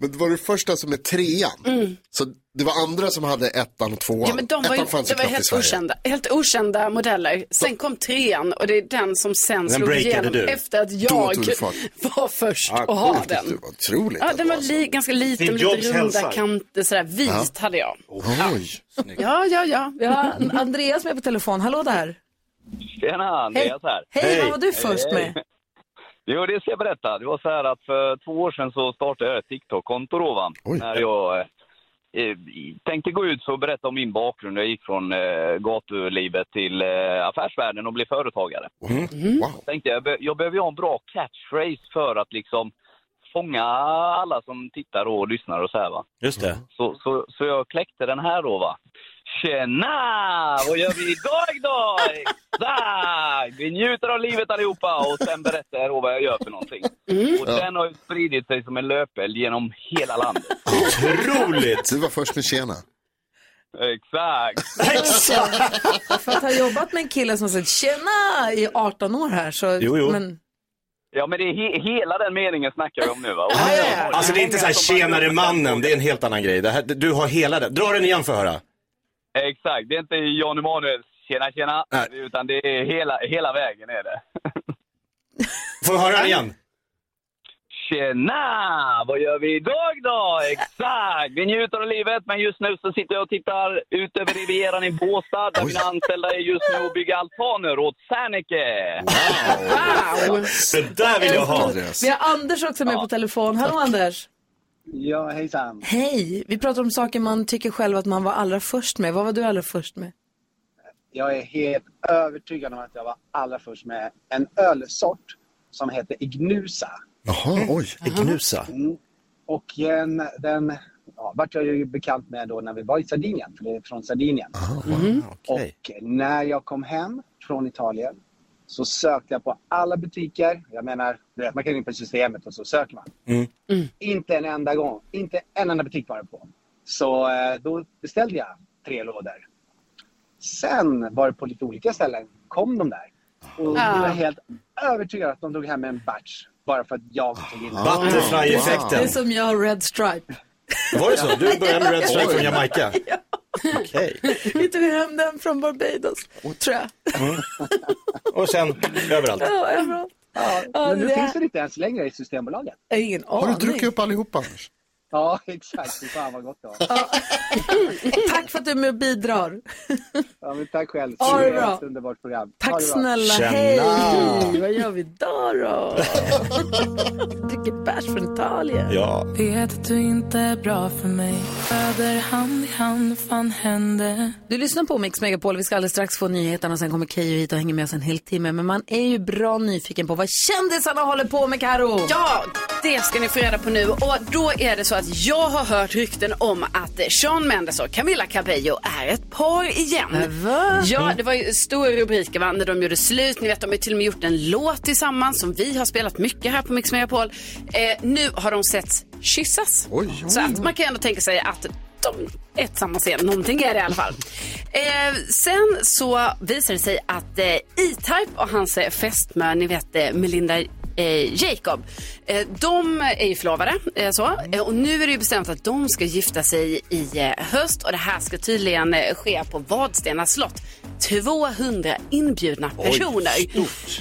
S2: Men det var du första som är trean. Så det var andra som hade ettan och tvåan.
S4: Mm. Ja, men de var, ju,
S2: ettan fanns
S4: det
S2: ju
S4: var
S2: knappt i
S4: helt
S2: Sverige.
S4: okända, helt okända modeller. Sen kom trean och det är den som sen
S2: Den
S4: slog
S2: breakade
S4: igenom
S2: du.
S4: efter att
S2: Då
S4: jag
S2: tog du fart.
S4: var först
S2: Ah,
S4: att ha
S2: coolt, det
S4: den.
S2: var Otroligt.
S4: Ja, den var li, ganska liten,
S2: Steve
S4: med
S2: Jobs
S4: lite runda
S2: hälsar.
S4: kanter, sådär vit
S2: Ja.
S4: hade jag.
S2: Oj.
S4: Ja, ja, ja.
S1: Vi har Andreas med på telefon. Hallå där.
S12: Tjena, Andreas här.
S1: Hej, vad var du först
S12: Hej.
S1: med?
S12: Jo, det ska jag berätta. Det var så här att för två år sedan så startade jag ett TikTok-konto då, va? När jag eh, eh, tänkte gå ut och berätta om min bakgrund. Jag gick från eh, gatulivet till eh, affärsvärlden och blev företagare.
S3: Mm.
S2: Mm. Wow.
S12: tänkte jag, be- jag behöver ju ha en bra catchphrase för att liksom fånga alla som tittar och lyssnar och så här va.
S3: Just det.
S12: Så, så, så jag kläckte den här då va. Tjena! Vad gör vi idag då? Exakt! Vi njuter av livet allihopa och sen berättar jag då vad jag gör för någonting. Och
S2: Ja.
S12: den har ju spridit sig som en löpeld genom hela landet.
S3: Otroligt!
S2: Du var först med tjena.
S12: Exakt!
S1: För att ha jobbat med en kille som har sagt tjena i 18 år här så...
S12: Jo, jo.
S1: Men,
S12: Ja men det är he- hela den meningen snackar vi om nu va. Och
S3: Alltså det är inte så här tjenare mannen, det är en helt annan grej. Det här, du har hela den. Dra den igen för att höra.
S12: Exakt, det är inte Jan Emanuel, tjena tjena, utan det är hela, hela vägen är det.
S3: Får vi höra den igen?
S12: Tjena! Vad gör vi idag då? Exakt! Vi njuter av livet, men just nu så sitter jag och tittar ut över Rivieran i Båstad där mina anställda är just nu och bygger altaner åt Serneke. Ah,
S1: wow!
S3: Det där vill jag ha.
S1: vi har Anders också med på telefon. Hallå Anders.
S13: Ja, hejsan.
S1: Hej, vi pratar om saker man tycker själv att man var allra först med. Vad var du allra först med?
S13: Jag är helt övertygad om att jag var allra först med en ölsort som heter Ignusa.
S2: Jaha, oj.
S3: Ignusa.
S13: Mm. Och en, den ja, vart jag ju bekant med då när vi var i Sardinien, för det är från Sardinien.
S3: Ah,
S8: Mm.
S1: Mm.
S13: Och när jag kom hem från Italien så sökte jag på alla butiker. Jag menar, du vet, man kan gå in på systemet och så söker man.
S5: Mm.
S13: Inte en enda gång, inte en enda butik var det på. Så eh, då beställde jag tre lådor. Sen var det på lite olika ställen, kom de där. Och jag
S5: Ah.
S13: är helt övertygad att de drog hem en batch bara för att jag tog in den.
S3: Butterfly-effekten.
S1: Det är som jag, Red Stripe.
S3: Var det så? Du började med Red Stripe från Jamaica? Okej.
S1: Vi tog hem den från Barbados, tror jag.
S3: Mm. Och sen överallt.
S1: Ja, överallt. Ja,
S13: Men nu
S1: det-
S13: finns den inte ens längre i Systembolaget.
S1: Jag har ingen
S2: Har
S1: aning.
S2: du druckit upp allihopa Anders?
S13: Ja, exakt. Fy fan vad gott det var.
S1: Tack för att du är med och bidrar.
S13: Ja, men tack själv.
S1: Ha det
S13: Det var
S1: bra.
S13: ett underbart program. Ha
S1: Tack
S13: det bra.
S1: snälla, hej! Vad gör vi idag då? Dricker bärs från Italien.
S3: Ja.
S5: Vet att du inte är bra för mig. Föder hand i hand, fan hände?
S1: Du lyssnar på Mix Megapol. Vi ska alldeles strax få nyheterna och sen kommer Keyyo hit och hänger med oss en hel timme. Men man är ju bra nyfiken på vad kändisarna håller på med, Karo.
S4: Ja, det ska ni få reda på nu. Och då är det så att jag har hört rykten om att Sean Mendes och Camilla Cabello är ett par igen.
S1: Va?
S4: Ja,
S1: Mm.
S4: det var ju stora rubriker va? när de gjorde slut. Ni vet, de har ju till och med gjort en låt tillsammans som vi har spelat mycket här på Mix Megapol. Eh, nu har de setts kyssas.
S2: Oj.
S4: Så att man kan ju ändå tänka sig att de, ett samma scen, någonting är det i alla fall. Eh, sen så visar det sig att eh, E-Type och hans eh, fästmö, ni vet eh, Melinda eh, Jacob, eh, de är ju förlovade. Eh, så. Eh, och nu är det ju bestämt att de ska gifta sig i eh, höst och det här ska tydligen eh, ske på Vadstena slott. 200 inbjudna personer.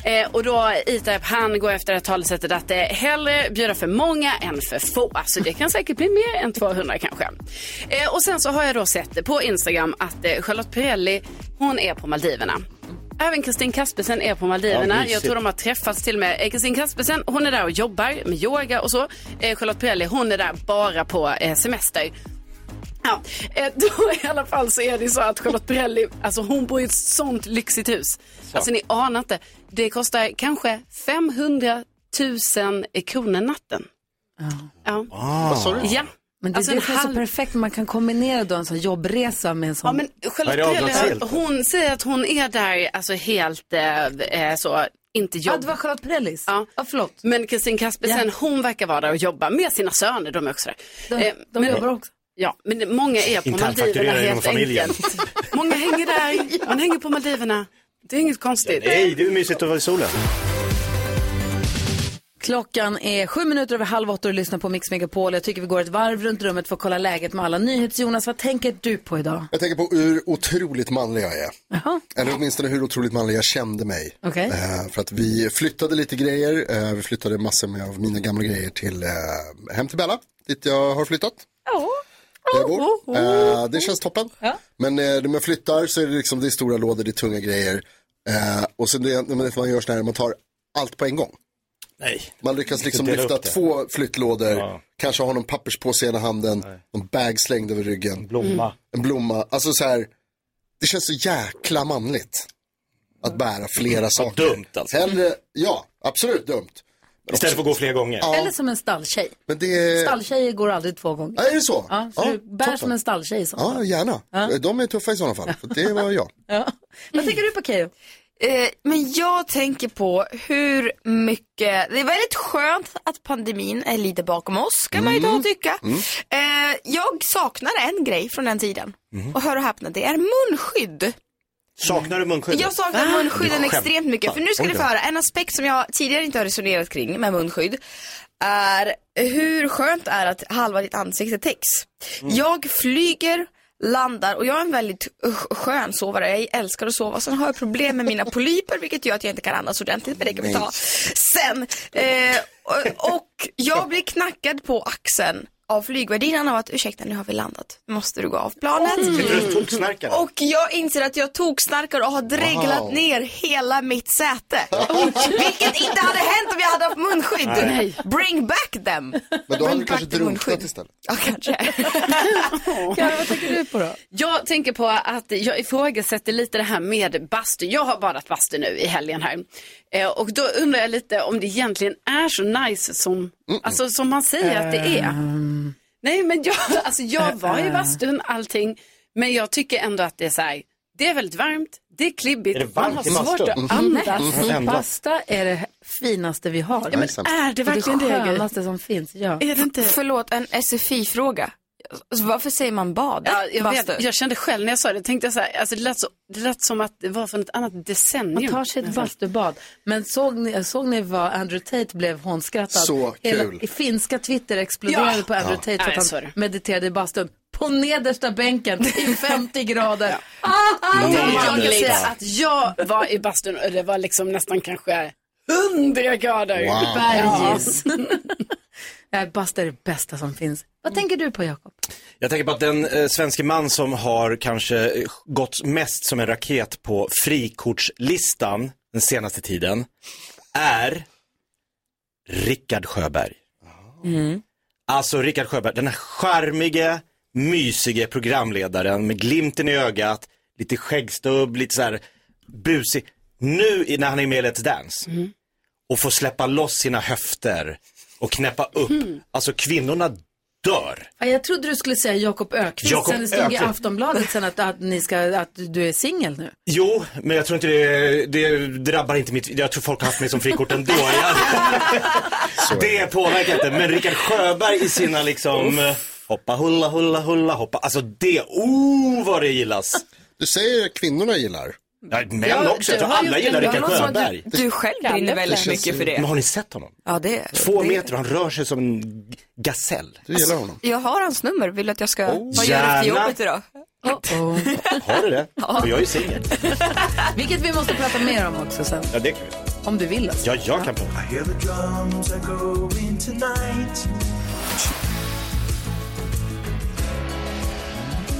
S4: eh, och då E-Type han går efter det talesättet att eh, hellre bjuda för många än för få. Så det kan säkert bli mer än 200 kanske. Eh, och sen så har jag då sett på Instagram att eh, Charlotte Perrelli, hon är på Maldiverna. Även Kristin Kaspersen är på
S14: Ja,
S4: Maldiverna.
S14: mysigt.
S4: jag tror de har träffats till och med. Eh, Kristin Kaspersen, hon är där och jobbar med yoga och så. Eh, Charlotte Perrelli, hon är där bara på eh, semester. Ja, eh, då i alla fall så är det ju så att Charlotte Perrelli, alltså hon bor i ett sånt lyxigt hus.
S14: Så.
S4: Alltså ni anar inte. Det kostar kanske 500 000 kronor natten. Ja.
S14: Vad sa du?
S4: Ja.
S1: Men det,
S4: Alltså
S1: det
S4: en
S1: är så
S4: halv-
S1: perfekt, man kan kombinera då en sån jobbresa med en sån... Ja, men
S4: Charlotte Perrelli, hon säger att hon är där alltså helt eh, eh, så, inte jobb. Ja, det var
S1: Charlotte Perrellis.
S4: Ja.
S1: förlåt.
S4: Men Kristin Kaspersen, hon verkar vara där och jobba med sina söner, de är också där.
S1: De- de jobbar också.
S4: Ja, men många är på Maldiverna
S3: Internfakturering inom
S4: helt
S3: familjen.
S4: enkelt. Många hänger där, man hänger på Maldiverna. Det är inget konstigt.
S3: Nej, det är mysigt att vara i solen.
S1: Klockan är sju minuter över halv åtta och du lyssnar på Mix Megapol. Jag tycker vi går ett varv runt rummet för att kolla läget med alla. NyhetsJonas, vad tänker du på idag?
S2: Jag tänker på hur otroligt manlig jag är. Eller åtminstone hur otroligt manlig jag kände mig.
S1: Okej.
S2: Eh, för att vi flyttade lite grejer. Eh, vi flyttade massor med av mina gamla grejer till eh, hem till Bella, dit jag har flyttat. Där jag bor. Eh, det känns toppen. Men eh, när man flyttar så är det liksom det är stora lådor, det är tunga grejer. Eh, och sen det, när man- man gör sådär, man tar allt på en gång.
S3: Nej.
S2: Man lyckas liksom
S3: Dela upp
S2: lyfta
S3: det.
S2: två flyttlådor, kanske ha någon papperspåse i ena handen, någon bag slängd över ryggen. En
S3: blomma. Mm.
S2: En blomma. Alltså så här, det känns så jäkla manligt. Att bära flera saker. Dumt alltså. Hellre, ja, absolut dumt.
S3: Istället för att gå flera gånger.
S1: Eller som en stalltjej.
S2: Men det...
S1: Stalltjejer går aldrig två gånger.
S2: Eh. Ja, är det så?
S1: Ja, så
S2: Ja,
S1: du bär
S2: toppen.
S1: som en stalltjej. Så.
S2: Ja, gärna. De är tuffa i sådana fall. För Det var jag.
S1: Vad tänker du på Keyyo?
S14: Eh, men jag tänker på hur mycket, det är väldigt skönt att pandemin är lite bakom oss kan man ju ta och tycka.
S15: Mm.
S14: Eh, jag saknar en grej från den tiden.
S3: Mm.
S14: Och hör och häpna, det är munskydd.
S3: Saknar du munskydden?
S14: Jag saknar munskydden
S3: Du
S14: extremt
S3: skämtar.
S14: mycket. För nu ska
S3: Oj
S14: ni
S3: då.
S14: få höra, en aspekt som jag tidigare inte har resonerat kring med munskydd är hur skönt är att halva ditt ansikte täcks.
S3: Mm.
S14: Jag flyger, landar och jag är en väldigt uh, skön sovare. Jag älskar att sova. Sen har jag problem med mina polyper vilket gör att jag inte kan andas ordentligt men det kan vi ta sen. Eh, och, och jag blir knackad på axeln av flygvärdinnan av att ursäkta nu har vi landat, nu måste du gå av planet.
S3: Mm. Sitter du och toksnarkar?
S14: Och jag inser att jag toksnarkar och har dreglat
S3: Wow.
S14: ner hela mitt säte. Vilket inte hade hänt om jag hade haft munskydd.
S2: Nej.
S14: Bring back them.
S2: Men då har du kanske drunknat istället.
S4: Karo,
S1: vad tänker du på då?
S4: Jag tänker på att jag ifrågasätter lite det här med bastu. Jag har badat bastu nu i helgen här. Eh, och då undrar jag lite om det egentligen är så nice som, alltså, som man säger att det är.
S1: Ehm,
S4: Nej, men jag, alltså, jag var i
S1: Eh, eh.
S4: bastun, allting. Men jag tycker ändå att det är så här, det är väldigt varmt, det är klibbigt,
S1: Är det
S4: man
S1: varmt
S4: har
S1: i bastun?
S4: svårt
S1: Mhm.
S4: att andas.
S1: Nej, Basta är det finaste vi har.
S14: Ja, men är det verkligen det,
S1: Det
S14: Gry?
S1: skönaste som finns, ja.
S14: Förlåt, en SFI-fråga. Alltså, Varför säger man bad?
S4: Ja, jag, vet,
S14: Bastu.
S4: jag kände själv när jag sa det, tänkte jag så här, alltså, det, lät så, det lät som att det var från ett annat decennium.
S1: Man tar sig ett
S4: Nästan.
S1: bastubad. Men såg ni, såg ni vad Andrew Tate blev hånskrattad?
S4: Så
S1: Hela,
S4: kul.
S1: i finska Twitter exploderade
S4: Ja.
S1: på Andrew
S4: Ja.
S1: Tate för
S4: Nej,
S1: att
S4: så är
S1: han
S4: det.
S1: mediterade i bastun. På nedersta bänken i 50 grader. Ah, ah,
S4: Jag
S1: ah.
S4: kan säga att jag var i bastun och det var liksom nästan kanske 100 grader.
S1: Wow.
S4: Ja.
S1: Bergis. Ah! Nej, Basta är det bästa som finns.
S4: Mm.
S1: Vad tänker du på Jakob?
S3: Jag tänker på att den eh, svenske man som har kanske eh, gått mest som en raket på frikortslistan den senaste tiden är Rickard Sjöberg. Alltså Rickard Sjöberg, den här charmige, mysige programledaren med glimten i ögat, lite skäggstubb, lite så här busig. Nu i- när han är med i Let's Dance och får släppa loss sina höfter och knäppa upp, alltså kvinnorna dör.
S1: Ja, Jag trodde du skulle säga Jakob Ökvist.
S3: Jakob
S1: sen det stod i
S3: Ökvist.
S1: Aftonbladet sen att, att, ni ska, att du är singel nu.
S3: Jo, men jag tror inte det, det drabbar inte mitt, jag tror folk har haft mig som frikort ändå. Jag, det påverkar inte, men Rickard Sjöberg i sina liksom, Hoppa hulla hulla hulla hoppa. Alltså det, oh vad det gillas.
S2: Du säger kvinnorna gillar.
S3: Ja, män också. Jag tror alla gillar Rickard Sjöberg.
S14: Du, du själv brinner väldigt mycket för det.
S3: Men har ni sett honom?
S14: Ja, det,
S3: Två
S14: det,
S3: meter och han rör sig som en g- gasell. Du
S2: gillar honom?
S14: Jag har hans nummer, vill du att jag ska,
S3: Oh,
S14: vad gör du efter
S3: gärna.
S14: jobbet idag?
S3: Har du det?
S14: Ja.
S3: För jag är ju singel.
S1: Vilket vi måste prata mer om också sen.
S3: Ja, det kan vi.
S1: Om du vill alltså.
S3: Ja, jag kan prata.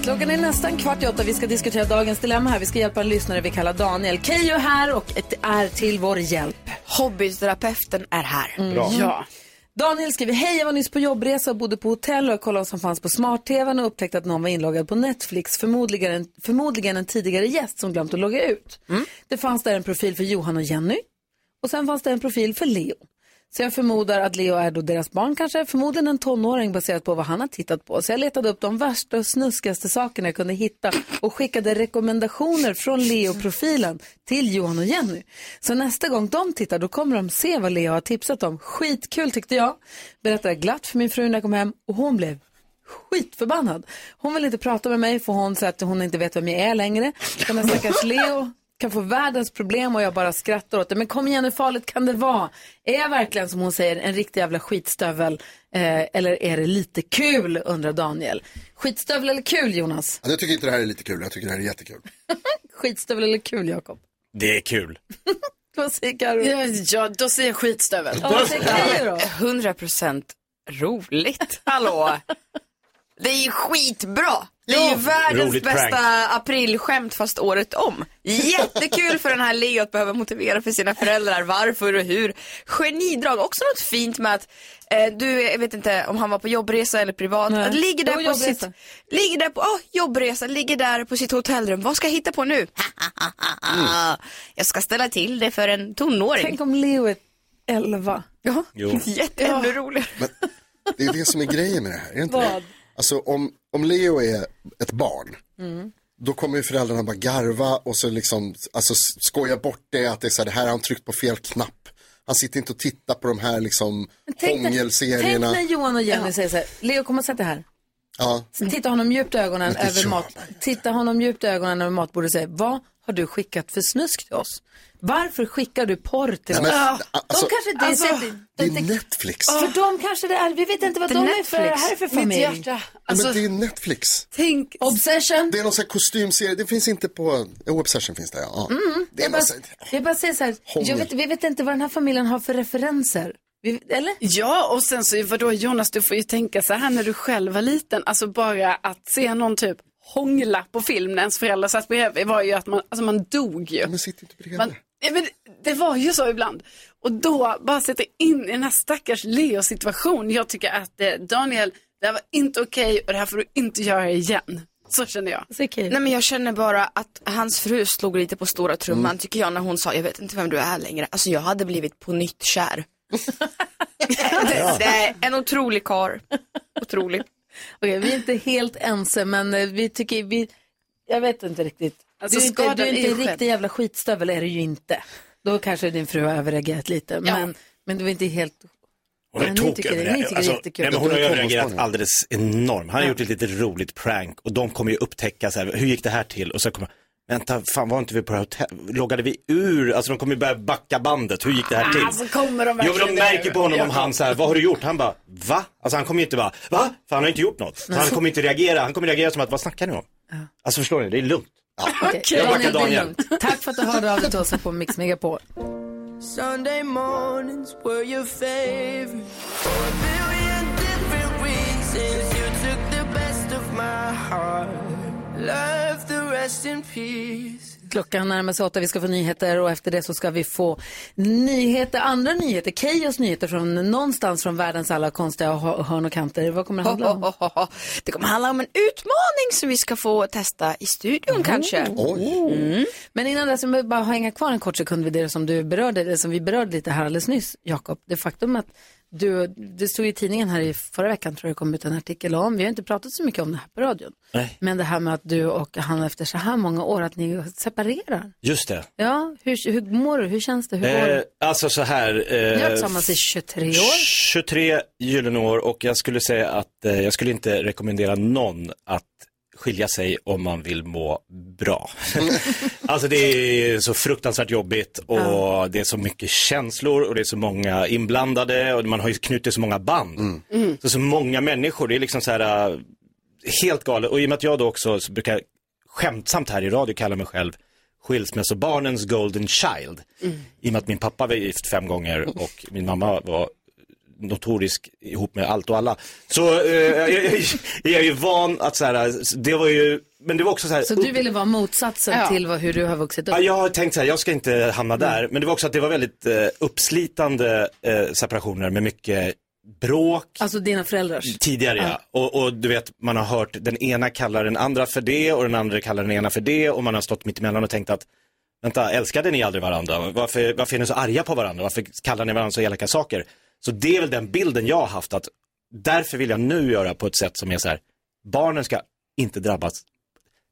S1: Klockan är nästan kvart i åtta. Vi ska diskutera dagens dilemma här. Vi ska hjälpa en lyssnare vi kallar Daniel. Keyyo är här och ett- är till vår hjälp.
S14: Hobbyterapeuten är här.
S1: Bra. Ja. Daniel skriver, hej jag var nyss på jobbresa och bodde på hotell och jag kollade vad som fanns på smart-tvn och upptäckte att någon var inloggad på Netflix, förmodligen en, förmodligen en tidigare gäst som glömt att logga ut. Det fanns där en profil för Johan och Jenny och sen fanns det en profil för Leo. Så jag förmodar att Leo är då deras barn kanske, förmodligen en tonåring baserat på vad han har tittat på. Så jag letade upp de värsta och snuskigaste sakerna jag kunde hitta och skickade rekommendationer från Leo-profilen till Johan och Jenny. Så nästa gång de tittar då kommer de se vad Leo har tipsat om. Skitkul tyckte jag. Berättade glatt för min fru när jag kom hem och hon blev skitförbannad. Hon vill inte prata med mig för hon säger att hon inte vet vem jag är längre. Den här stackars Leo kan få världens problem och jag bara skrattar åt det. Men kom igen, hur farligt kan det vara? Är jag verkligen, som hon säger, en riktig jävla skitstövel? Eh, eller är det lite kul, undrar Daniel. Skitstövel eller kul, Jonas?
S2: Ja, jag tycker inte det här är lite kul, jag tycker det här är jättekul.
S1: Skitstövel eller kul, Jakob?
S3: Det är kul.
S1: Vad säger Karo?
S4: Ja, ja, då säger jag skitstövel.
S1: Ja, vad säger Keyyo då?
S14: 100 procent roligt. Hallå! Det är ju skitbra! Det är ju världens
S15: Roligt
S14: bästa
S15: prank.
S14: aprilskämt fast året om. Jättekul för den här Leo att behöva motivera för sina föräldrar varför och hur. Genidrag, också något fint med att eh, du, jag vet inte om han var på jobbresa eller privat,
S1: Nej.
S14: att ligger
S1: Det
S14: där
S1: var
S14: på sitt,
S1: jobbresa.
S14: ligger där på, oh, jobbresa, ligger där på sitt hotellrum, vad ska jag hitta på nu?
S1: Mm.
S14: Jag ska ställa till det för en tonåring.
S1: Tänk om Leo är 11.
S14: Ja,
S2: Jo.
S14: jätte, ännu roligare.
S2: Det är det som är grejen med det här, är det inte
S14: Vad?
S2: det? Alltså om, om Leo är ett barn,
S5: Mm.
S2: då kommer ju föräldrarna bara garva och så liksom, alltså s- skoja bort det att det är så här, det här har han tryckt på fel knapp. Han sitter inte och tittar på de här liksom
S1: Tänk, när- tänk
S2: hångelserierna.
S1: när Johan och Jenny säger så här, Leo kom och sätt dig här.
S2: Ja.
S1: Mm. Titta honom djupt i ögonen
S2: Men det
S1: över
S2: gör
S1: mat. Titta honom djupt i ögonen över matbordet och säg, vad har du skickat för snusk till oss? Varför skickar du porr till
S2: Nej,
S1: oss?
S2: men,
S1: Ja.
S2: alltså-
S1: de kanske det
S2: Alltså,
S1: är sättet-
S2: Det är Netflix.
S1: För de kanske det är, vi vet inte vad
S4: Det
S1: de
S4: är
S1: är för, det här är för
S4: Netflix.
S1: familj.
S4: Mitt hjärta.
S1: Alltså,
S2: ja, men det är Netflix.
S1: Tänk, obsession.
S2: Det är någon sån här kostymserie, det finns inte på, jo Obsession finns det ja. ja.
S1: Mm.
S2: Det är
S1: jag, bara,
S2: massa-
S1: jag bara säger så här,
S2: Hångel.
S1: jag vet, vi vet inte vad den här familjen har för referenser. Vi, eller?
S4: Ja, och sen så vadå Jonas, du får ju tänka så här när du själv var liten, alltså bara att se någon typ hångla på film när ens föräldrar satt bredvid var ju att man, alltså man dog ju.
S2: Men sitter inte bredvid.
S4: Man, ja, men det var ju så ibland. Och då bara sätta in i den här stackars Leos situation. Jag tycker att eh, Daniel, det här var inte okej och det här får du inte göra igen. Så känner jag.
S14: Nej men jag känner bara att hans fru slog lite på stora trumman tycker jag när hon sa jag vet inte vem du är längre. Alltså jag hade blivit på nytt kär. det, det är en otrolig karl. Otrolig.
S1: Okej, vi är inte helt ense, men eh, vi tycker, vi, jag vet inte riktigt.
S4: Alltså,
S1: du är inte,
S4: skadan
S1: du är
S4: är
S1: inte
S4: ju
S1: en
S4: skedd.
S1: riktig jävla skitstövel, är du ju inte. Då kanske din fru har överreagerat lite, men, men du är inte helt...
S3: Hon är
S1: Ja, ni
S3: tokig.
S1: tycker,
S3: över
S1: det,
S3: här.
S1: ni tycker
S3: Alltså,
S1: det är jättekul.
S3: nej, men hon har ju överreagerat alldeles enormt. Han har gjort ett litet roligt prank och de kommer ju upptäcka så här, hur gick det här till? Och så kommer Vänta, fan var inte vi på det här hotellet? Loggade vi ur? Alltså de kommer ju börja backa bandet. Hur gick det här till?
S4: Alltså, kommer de
S3: jo, men
S4: verkligen
S3: de märker
S4: där?
S3: på honom
S4: Ja.
S3: om han så här, vad har du gjort? Han bara, va? Alltså han kommer ju inte bara, va? För han har inte gjort något. Så han kommer inte reagera. Han kommer reagera som att, vad snackar ni om? Alltså förstår ni, det är lugnt.
S1: Okej,
S3: Jag
S1: Daniel,
S3: backar
S1: det är
S3: Daniel.
S1: lugnt. Tack för att du hörde av dig till oss här på Mix Megapol.
S15: Sunday mornings were your favorite. For a billion different reasons, you took the best of my heart. Love the rest in peace.
S1: Klockan närmar sig åtta, vi ska få nyheter och efter det så ska vi få nyheter, andra nyheter, Keyyo's nyheter från någonstans från världens alla konstiga hö- hörn och kanter. Vad kommer det handla om?
S14: Det kommer handla om en utmaning som vi ska få testa i studion kanske.
S1: Mm. Men innan dess, om vi bara hänga kvar en kort sekund vid det som du berörde, det som vi berörde lite här alldeles nyss, Jakob. Det faktum att du, det stod i tidningen här i förra veckan tror jag det kom ut en artikel om, vi har inte pratat så mycket om det här på radion,
S3: Nej.
S1: men det här med att du och han efter så här många år, att ni separerar.
S3: Just det.
S1: Ja, hur, hur mår du? Hur känns det? Hur går
S3: Eh,
S1: det?
S3: alltså så här.
S1: Ni har
S3: eh,
S1: varit tillsammans i 23 år.
S3: 23 gyllene år och jag skulle säga att eh, jag skulle inte rekommendera någon att skilja sig om man vill må bra. alltså det är så fruktansvärt jobbigt och det är så mycket känslor och det är så många inblandade och man har ju knutit så många band.
S1: Mm.
S3: Så, så många människor, det är liksom så här eh, helt galet. Och i och med att jag då också så brukar jag skämtsamt här i radio kalla mig själv skilsmässobarnens golden child.
S1: Mm.
S3: I och med att min pappa var gift fem gånger och min mamma var notorisk ihop med allt och alla. Så eh, jag, jag, jag är ju van att så här, det var ju, men det var också så här.
S1: Så du ville vara motsatsen
S3: Ja.
S1: till vad, hur du har vuxit upp?
S3: eh, Ja, jag har tänkt så här, jag ska inte hamna där. Men det var också att det var väldigt eh, uppslitande eh, separationer med mycket bråk.
S1: Alltså dina föräldrars?
S3: Tidigare ja. Och, och du vet, man har hört den ena kallar den andra för det och den andra kallar den ena för det och man har stått mitt emellan och tänkt att vänta, älskade ni aldrig varandra? Varför, varför är ni så arga på varandra? Varför kallar ni varandra så elaka saker? Så det är väl den bilden jag har haft att därför vill jag nu göra på ett sätt som är så här, barnen ska inte drabbas.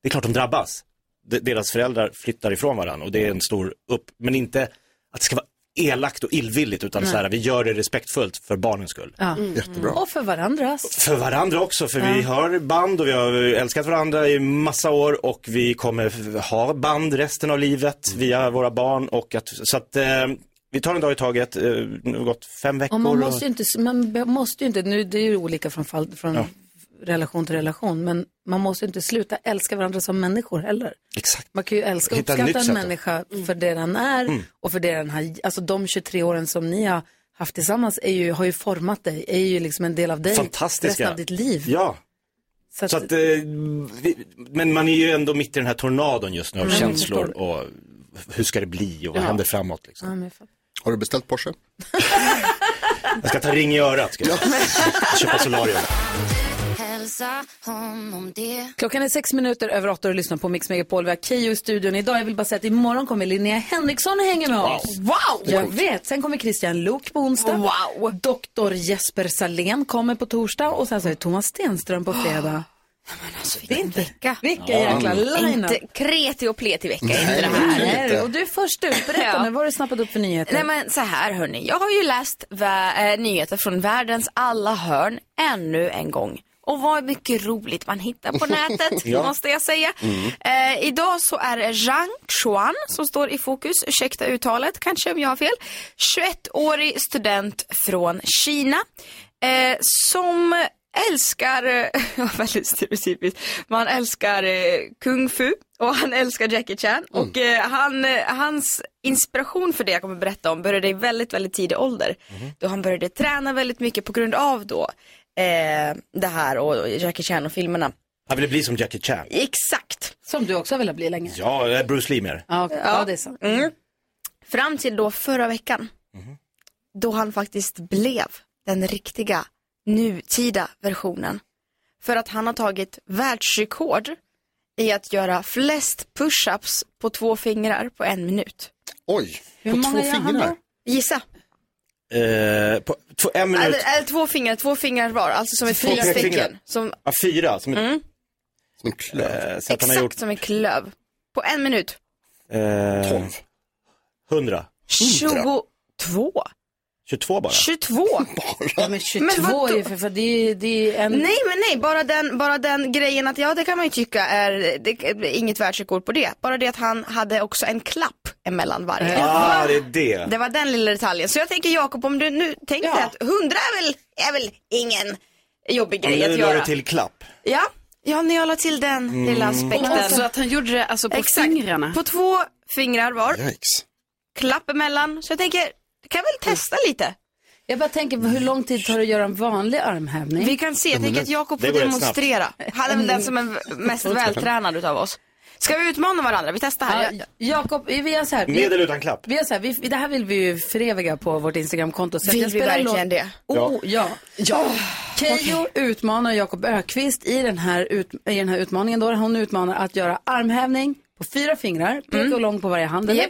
S3: Det är klart de drabbas. De, deras föräldrar flyttar ifrån varandra och det är en stor upp, men inte att det ska vara elakt och illvilligt utan
S1: Nej.
S3: så här, vi gör det respektfullt för barnens skull.
S1: Ja. Och för varandras.
S3: För varandra också, för vi
S1: Ja.
S3: har band och vi har älskat varandra i massa år och vi kommer f- ha band resten av livet via våra barn. Och att, så att eh, vi tar en dag i taget, eh, nu har det gått fem veckor.
S1: Och man
S3: och-
S1: måste ju inte, man be- måste ju inte nu det är ju olika från, fall, från
S3: Ja.
S1: relation till relation, men man måste ju inte sluta älska varandra som människor heller.
S3: Exakt.
S1: Man kan ju älska och
S3: Hitta ett nytt
S1: uppskatta en
S3: sätt då.
S1: människa för det den är
S3: Mm.
S1: och för det den har, alltså de 23 åren som ni har haft tillsammans är ju, har ju format dig, är ju liksom en del av dig
S3: Fantastiska.
S1: resten av ditt liv.
S3: Ja.
S1: Så att,
S3: eh, vi, men man är ju ändå mitt i den här tornadon just nu av
S1: Mm, jag
S3: känslor
S1: förstår.
S3: och hur ska det bli och vad
S1: Ja.
S3: händer framåt. Liksom.
S1: Ja, men jag fattar.
S2: Har du beställt Porsche?
S3: Jag ska ta ring i örat, ska jag. köpa solarium.
S11: Hälsa honom det.
S1: Klockan är sex minuter över åtta och du lyssnar på Mix Megapol. Vi har Keyyo i studion idag. Jag vill bara säga att imorgon kommer Linnea Henriksson och hänger med oss.
S11: Wow. Wow.
S1: Jag vet. Sen kommer Christian Lok på onsdag. Wow! Doktor Jesper Salén kommer på torsdag och sen så är det Thomas Stenström på fredag. det är inte vecka. Vilken
S14: Ja.
S1: jäkla line-up.
S14: Alltså, Inte kreti och pleti vecka,
S1: Nej,
S14: inte det
S1: verkligen
S14: här.
S1: inte. Och du är först ut. Berätta nu, vad har du snappat upp för nyheter?
S14: Nej men så här hörni, jag har ju läst vä- eh, nyheter från världens alla hörn ännu en gång. Och vad mycket roligt man hittar på nätet,
S15: Ja.
S14: måste jag säga.
S15: Mm.
S14: Eh, idag så är det Zhang Xuan som står i fokus, ursäkta uttalet kanske om jag har fel. 21-årig student från Kina eh, som älskar, eh, väldigt stereotypiskt, man älskar eh, kung fu och han älskar Jackie Chan. Och eh, han, eh, hans inspiration för det jag kommer berätta om började i väldigt, väldigt tidig ålder. Då han började träna väldigt mycket på grund av då eh, det här och och Jackie Chan och filmerna.
S3: Jag ville bli som Jackie Chan.
S14: Exakt.
S1: Som du också har velat bli länge.
S3: Ja, eh, Bruce Lee mer.
S1: Ja, ja, det är sant.
S14: Mm. Fram till då förra veckan,
S3: Mhm.
S14: då han faktiskt blev den riktiga nutida versionen. För att han har tagit världsrekord i att göra flest push-ups på två fingrar på en minut.
S2: Oj,
S14: Hur på många två gör han fingrar? då? Gissa.
S3: Eh, på, två, en minut.
S14: Eller, eh, eller två fingrar, två fingrar var, alltså som är
S3: Två
S14: fyra
S3: pekfingrar.
S14: stycken. Som,
S3: Ja, fyra. Som, ett,
S14: Mm.
S3: som en klöv. så att han har
S14: exakt
S3: gjort
S14: som en klöv. På en minut.
S3: Eh, 12. 100.
S14: 22.
S3: 22 bara.
S14: 22.
S1: Ja, men 22 är ju för, för det är, det är en...
S14: Nej men nej, bara den, bara den grejen att ja det kan man ju tycka är, det är inget världsrekord på det. Bara det att han hade också en klapp emellan varje.
S3: Ah, det är det.
S14: Det var den lilla detaljen. Så jag tänker Jakob om du nu tänkte att 100 är väl, är väl ingen jobbig
S3: Om
S14: grej
S3: du
S14: att
S3: la
S14: göra.
S3: det till klapp.
S14: Ja, ja när jag la till den lilla
S3: Mm.
S14: aspekten.
S4: Åh, så att han gjorde det alltså på fingrarna?
S14: På två fingrar var,
S2: Yikes.
S14: klapp emellan. Så jag tänker, jag kan väl testa lite.
S1: Mm. Jag bara tänker, hur lång tid tar det att göra en vanlig armhävning?
S14: Vi kan se, jag
S1: En
S14: tänker
S1: minut.
S14: att Jakob
S1: Det
S14: får
S1: går rätt snabbt.
S14: demonstrera. Han är väl den som är v- mest vältränad utav oss. Ska vi utmana varandra? Vi testar här.
S1: Ja, Jakob, vi gör så här.
S3: Med eller utan klapp?
S1: Vi gör så här, vi, det här vill vi ju föreviga på vårt Instagramkonto. Så att
S14: Vill
S1: jag
S14: vi
S1: spelar en
S14: verkligen det?
S1: Oh, ja. ja. Keyyo utmanar Jakob Ökvist i den, här ut, i den här utmaningen. Då. Hon utmanar att göra armhävning på fyra fingrar,
S14: Mm.
S1: pek och lång på varje hand. eller?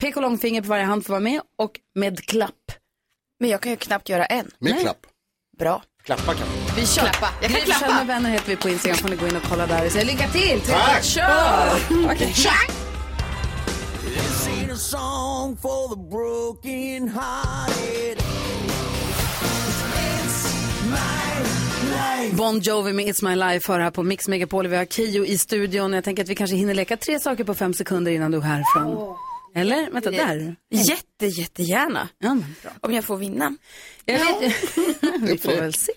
S1: Pek och långfinger på varje hand får vara med och med klapp.
S14: Men jag kan ju knappt göra en.
S2: Med klapp.
S14: Bra.
S2: Klappa kan man.
S1: Vi kör. Klappa. Jag kan Gry klappa. med vänner heter vi på Instagram. får ni gå in och kolla där. Så lycka till!
S15: Tack.
S1: Kör!
S15: Okej.
S1: Tja!
S15: This ain't a song for the broken hearted. It's my life.
S1: Bon Jovi med It's My Life hör här på Mix Megapol. Vi har Kio i studion. Jag tänker att vi kanske hinner leka tre saker på fem sekunder innan du är härifrån. Eller? Vänta, där.
S14: Jätte, jättegärna.
S1: Ja,
S14: Om jag får vinna.
S1: Jag vet, vi får väl se.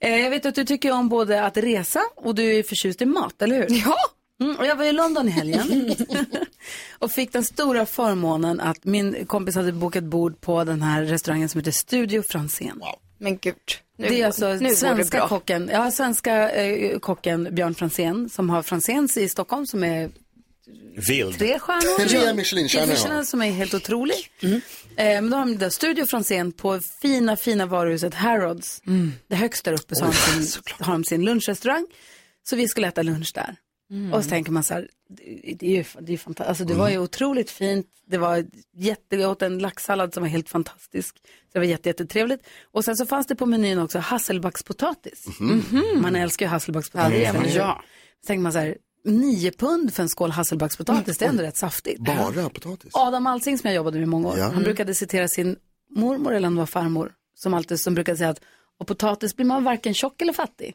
S1: Eh, Jag vet att du tycker om både att resa och du är förtjust i mat, eller hur?
S14: Ja!
S1: Mm, och jag var i London i helgen och fick den stora förmånen att min kompis hade bokat bord på den här restaurangen som heter Studio Franzén.
S14: Men gud. Nu
S1: det är
S14: går-
S1: alltså
S14: nu går det
S1: svenska
S14: bra.
S1: kocken, ja, svenska eh, kocken Björn Franzén som har Franzéns i Stockholm som är
S3: Vild.
S1: tre stjärnor.
S2: Tre Michelinstjärnor,
S1: Tre
S2: ja.
S1: Michelin som är helt otrolig.
S15: Mm.
S1: Eh, men då har de där Studio Franzén på fina, fina varuhuset Harrods. Det högst där uppe så har, de sin, har de sin lunchrestaurang. Så vi skulle äta lunch där.
S7: Mm.
S1: Och så tänker man så här, det- det är ju det är ju fantastiskt. Alltså det
S15: Mm.
S1: var ju otroligt fint. Det var jätte, jag åt en laxsallad som var helt fantastisk. Så det var jätte, jättetrevligt. Och sen så fanns det på menyn också hasselbackspotatis.
S15: Mhm.
S1: Man älskar ju hasselbackspotatis.
S15: Ja, det gör man ju.
S1: Ja. Så tänker man så här, nio pund för en skål hasselbackspotatis, det är ändå rätt saftigt.
S2: Bara potatis.
S1: Adam Alsing som jag jobbade med i många år,
S2: Ja.
S1: han
S2: Mm.
S1: brukade citera sin mormor eller om det var farmor, som alltid som brukade säga att och potatis blir man varken tjock eller fattig.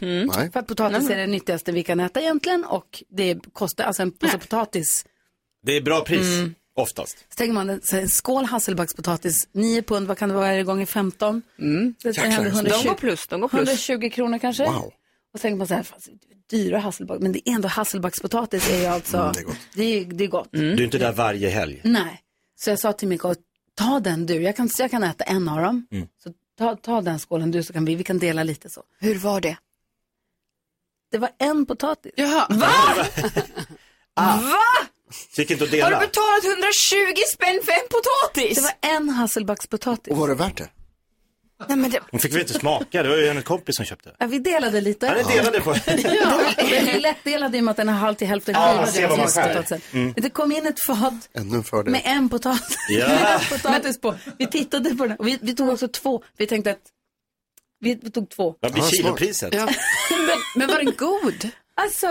S2: Nej.
S1: För att potatis är det nyttigaste vi kan äta egentligen och det kostar, alltså en påse potatis,
S3: Det är bra pris,
S14: Mm.
S3: oftast.
S1: så tänker man så här, en skål hasselbackspotatis, nio pund, vad kan det vara, är det gånger 15? Mm. Så det
S7: Jäklar,
S1: händer
S7: just det.
S1: 120,
S7: De går plus, de går plus.
S1: 120 kronor kanske. Och så tänker man så här, fan, det är dyra hasselback, men det är ändå hasselbackspotatis är ju alltså,
S3: Mm, det
S1: det
S3: är
S1: är
S3: gott.
S1: gott. Det är, gott.
S14: Mm.
S3: Du är inte där varje helg.
S1: Nej, så jag sa till Mikael, ta den du, jag kan, jag kan äta en av dem.
S3: Mm.
S1: Så ta, ta den skålen du så kan vi, vi kan dela lite så.
S14: Hur var det?
S1: Det var en potatis.
S14: Jaha. Va? Va?
S3: Så gick inte att
S14: Har
S3: dela.
S14: du betalat 120 spänn för en potatis?
S1: Det var en hasselbackspotatis.
S2: Och var det värt det?
S14: Nej, men det...
S3: Hon fick väl inte smaka, det var ju hennes kompis som köpte.
S1: Ja, vi delade lite.
S3: Ja, det delade på.
S1: Den är lättdelad i och med att den är halv till hälften
S3: Ja,
S1: skivad,
S3: se
S1: den
S3: vad man skär.
S1: potatisen.
S3: Mm.
S1: Men Det kom in ett fat
S2: Ännu en fördel.
S1: med en potatis,
S2: Ja.
S1: med en potatis på. Vi tittade på den och vi, vi tog också två. Vi tänkte att vi, vi tog två.
S3: Vad blir kilopriset? Ja.
S1: men, var den god? Alltså,